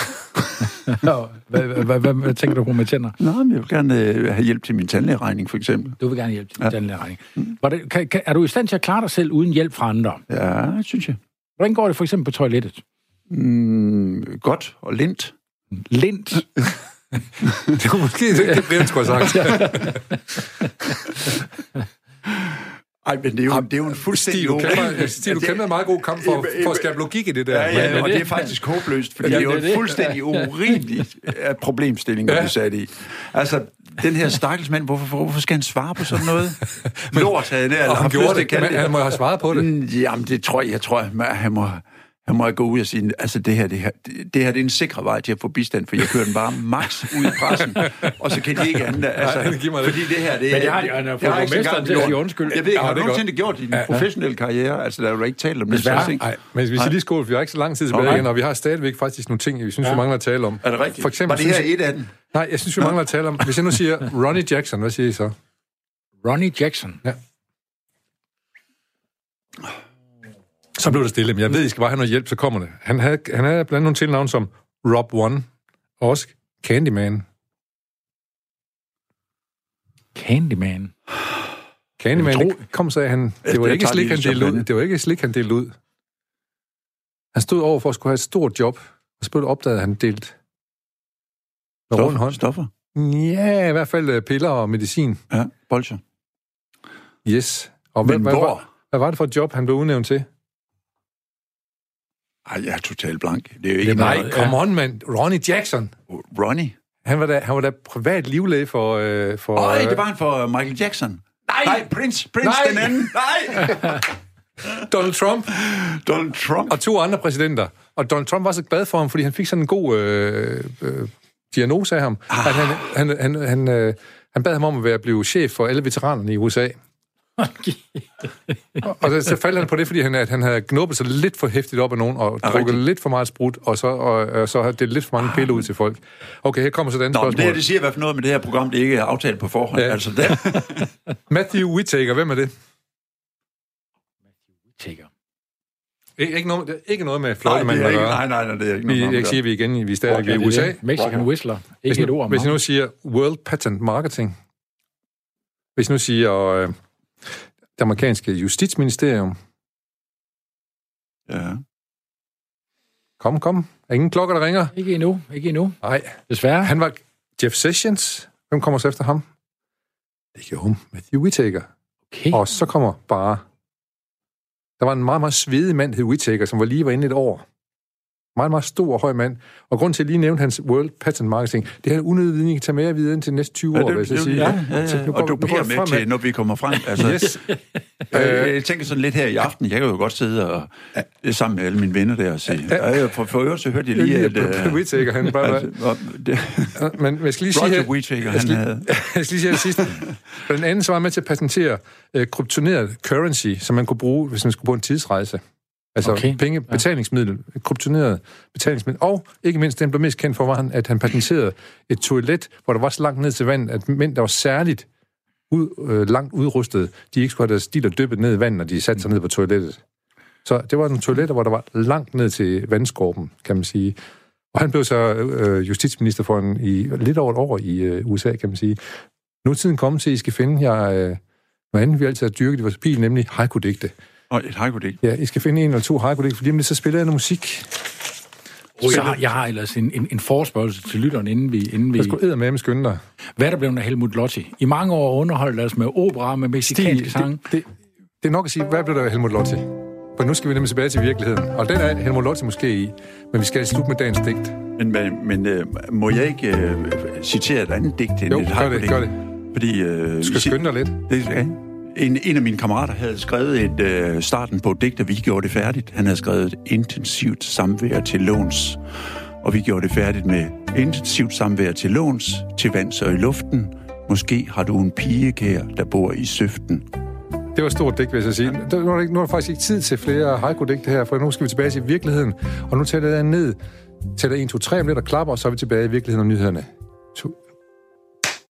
B: Nå, hvad, hvad, hvad, hvad, hvad tænker du på med tænder?
C: Nå, men jeg vil gerne øh, have hjælp til min tandlægeregning, for eksempel.
B: Du vil gerne hjælpe til
C: Ja.
B: ja. den regning. Hvordan, kan, kan, er du i stand til at klare dig selv uden hjælp fra andre?
C: Ja, synes jeg.
B: Hvordan går det for eksempel på toilettet?
C: Mm, godt og lint.
B: Lint.
A: Det var måske det, det Brian skulle have sagt.
C: Ej, men det er jo, det er jo en
A: Stig,
C: fuldstændig...
A: du
C: urimelig-
A: kæmper, Stig, du
C: det-
A: kæmper en meget god kamp for,
C: Jamen,
A: for at skabe logik i det der.
C: Ja, ja,
A: Men-
C: og det er faktisk håbløst, fordi
B: Ja,
C: det er jo
B: det er
C: en
B: det.
C: fuldstændig urimelig øh, problemstilling, du ja. sat i. Altså, den her stakkels mand, hvorfor, hvorfor skal han svare på
A: [LAUGHS]
C: sådan noget? Lort havde det, eller
A: Og han
C: haft lyst
A: gjorde
C: til at
A: det,
C: kalde
A: men han må have svaret på det.
C: Mm, Jamen, det tror jeg, jeg tror, man, han må, han må gå ud og sige, altså det her, det her, det, det her det er en sikker vej til at få bistand, for jeg kører den bare max ud i
A: [LAUGHS]
C: pressen, og så kan de ikke andet. Altså,
A: Nej, giv mig det.
C: fordi det her, det
B: Men det har de- han har fået
C: jeg ikke
B: borgmesteren
C: engang
B: til at sige
C: gjort.
B: undskyld.
C: Jeg ved ikke,
A: Ja,
C: har
A: det
C: du
A: er godt.
C: nogensinde gjort i din professionelle karriere? Altså, der er jo ikke talt om det.
B: Desværre.
C: slags ting.
A: Nej, men hvis vi lige skål, for vi har ikke så lang tid tilbage
C: Okay.
A: igen, og vi har stadigvæk faktisk nogle ting, vi synes, vi mangler at tale om.
C: Er det rigtigt?
A: For eksempel,
C: Var det her
A: synes,
C: et af dem?
A: jeg, nej, jeg synes, vi mangler at tale om, hvis jeg nu
C: [LAUGHS]
A: siger Ronnie Jackson, hvad siger I så?
B: Ronnie Jackson.
A: Så blev det stille, men jeg ved, I skal bare have noget hjælp, så kommer det. Han havde, han havde blandt andet nogle tilnavne som Rob One, og også Candyman.
B: Candyman.
A: Candyman,
B: Jeg tror-
A: det kom så han, Altså, det var
C: Jeg
A: ikke
C: tager
A: slik,
C: lige
A: han
C: det som
A: delte ud.
C: andet.
A: Det var ikke slik, han delte ud. Han stod over for at skulle have et stort job, og så blev det opdaget, at han delte med rund hånd.
C: Stoffer?
A: Ja, i hvert fald øh, piller og medicin.
C: Ja, bolcher.
A: Yes. Og
C: Men
A: hvad,
C: hvor?
A: Hvad, var, hvad var det for et job, han blev udnævnt til?
C: Ej, jeg er totalt blank. Det er jo ikke
A: Jamen,
C: noget.
A: nej, come on, mand. Ronnie Jackson.
C: Ronnie?
A: Han var da, han var da privat livlæge for... Øh, for
C: Øj,
A: øh,
C: det var han for øh, Michael Jackson. Nej, Nej Prince, Prince
A: [LAUGHS] Nej!
C: den anden. Nej,
A: Donald Trump
C: Donald Trump.
A: og to andre præsidenter. Og Donald Trump var så glad for ham, fordi han fik sådan en god øh, øh, diagnose af ham. Ah. At han, han, han, han, øh, han bad ham om at være blive chef for alle veteranerne i USA. Og- og så, så faldt han på det, fordi han, at han havde knuppet sig lidt for hæftigt op af nogen, og drukket
C: rigtigt. Ah.
A: lidt for meget sprut, og så, og, og så havde det lidt for mange piller ud til folk. Okay, her kommer så et andet
C: Nå, men
A: spørgsmål.
C: det her, det siger i hvert fald noget med det her program, det ikke er aftalt på forhånd.
A: Ja.
C: Ja. Altså,
A: [LAUGHS]
C: det,
A: Matthew Whittaker, hvem er det?
B: Tigger.
A: Ik- E- ikke, noget, det er ikke noget med
C: nej, det
A: fløjtemanden
C: er
A: at
C: ikke,
A: gøre.
C: nej, nej, nej, det er ikke
A: Vi,
C: noget. om
A: jeg
C: det.
A: siger, vi igen, vi er stadigvæk i USA.
B: Mexican Whistler.
A: Hvis
B: Ikke et ord
A: nu,
B: om
A: hvis jeg
B: ham.
A: nu siger World Patent Marketing, hvis jeg nu siger øh, det amerikanske justitsministerium,
C: Ja.
A: kom, kom, er ingen klokker, der ringer?
B: Ikke endnu. Ikke endnu.
A: Nej,
B: Desværre.
A: han var Jeff Sessions. Hvem kommer så efter ham? Det gjorde ham, Matthew Whittaker.
B: Okay.
A: Og så kommer bare... Der var en meget, meget svedig mand, hed Whittaker, som var lige var inde et år. Meget, meget stor og høj mand. Og grund til, at jeg lige nævnte hans World Patent Marketing, det er en unødig viden, I kan tage med jer videre indtil de næste 20
C: Ja,
A: år, vil jeg
C: det,
A: så
C: det,
A: sige.
C: ja, ja,
A: Så
C: ja.
A: nu
C: Og
A: går-
C: du
A: nu går
C: bliver
A: jeg fremad.
C: med til, når vi kommer
A: [LAUGHS]
C: frem. Altså, [LAUGHS]
A: Yes. Øh,
C: jeg, jeg tænker sådan lidt her i aften. Jeg kan jo godt sidde og, sammen med alle mine venner der og se. Ja, for, for øvrigt så hørte jeg lige, at...
A: Lige,
C: øh,
A: Whittaker, han bare...
C: altså, og det- [LAUGHS]
A: Men jeg skal lige sige
C: Roger
A: her,
C: Whittaker,
A: jeg
C: han
A: skal,
C: havde...
A: jeg skal lige [LAUGHS] sige her det
C: [LAUGHS]
A: sidste. Blandt andet så var han med til at patentere øh, kryptoneret currency, som man kunne bruge, hvis man skulle på en tidsrejse. Altså okay.
B: Okay.
A: penge, betalingsmiddel, kryptoneret betalingsmiddel. Og ikke mindst, den blev mest kendt for, var han, at han patenterede et toilet, hvor der var så langt ned til vandet, at mænd, der var særligt ud, øh, langt udrustet, de ikke skulle have deres stil og dyppet ned i vandet, når de satte sig ned på toilettet. Så det var nogle toiletter, hvor der var langt ned til vandskorpen, kan man sige. Og han blev så øh, justitsminister for en, i lidt over et år i øh, USA, kan man sige. Nu er tiden kommet til, at I skal finde jer øh, Noget andet, vi altid har dyrket i vores bil, nemlig haiku-digte.
C: Og et haiku-digt.
A: Ja, I skal finde en eller to haiku-digte, for lige om lidt, så spiller jeg noget musik.
B: Så har, jeg har ellers en, en, en forspørgsel til lytteren, inden vi... Inden vi
A: Jeg skulle med skynde dig.
B: hvad er der blev af Helmut Lotti? I mange år underholdt os med opera, med mexikanske sange.
A: det, det er nok at sige, hvad blev der af Helmut Lotti? For nu skal vi nemlig tilbage til virkeligheden. Og den er Helmut Lotti måske i, men vi skal slutte med dagens digt.
C: Men, men, men øh, må jeg ikke øh, citere et andet digt end
A: Jo,
C: et
A: gør
C: haiku-digt?
A: det, gør det.
C: Fordi, øh,
A: Du skal
C: vi-
A: skynde dig lidt.
C: Det, ja. en, en af mine kammerater havde skrevet et, øh, starten på et digt, og vi gjorde det færdigt. Han havde skrevet et intensivt samvær til låns. Og vi gjorde det færdigt med intensivt samvær til låns, til vands og i luften. Måske har du en pigekær, der bor i søften.
A: Det var et stort digt, vil jeg så sige. Der- Nu er der, ikke, nu er der faktisk ikke tid til flere haiku-digte her, for nu skal vi tilbage til virkeligheden. Og nu tæller jeg ned. Tæller 1, 2, 3 om lidt og klapper, og så er vi tilbage i virkeligheden og nyhederne. To,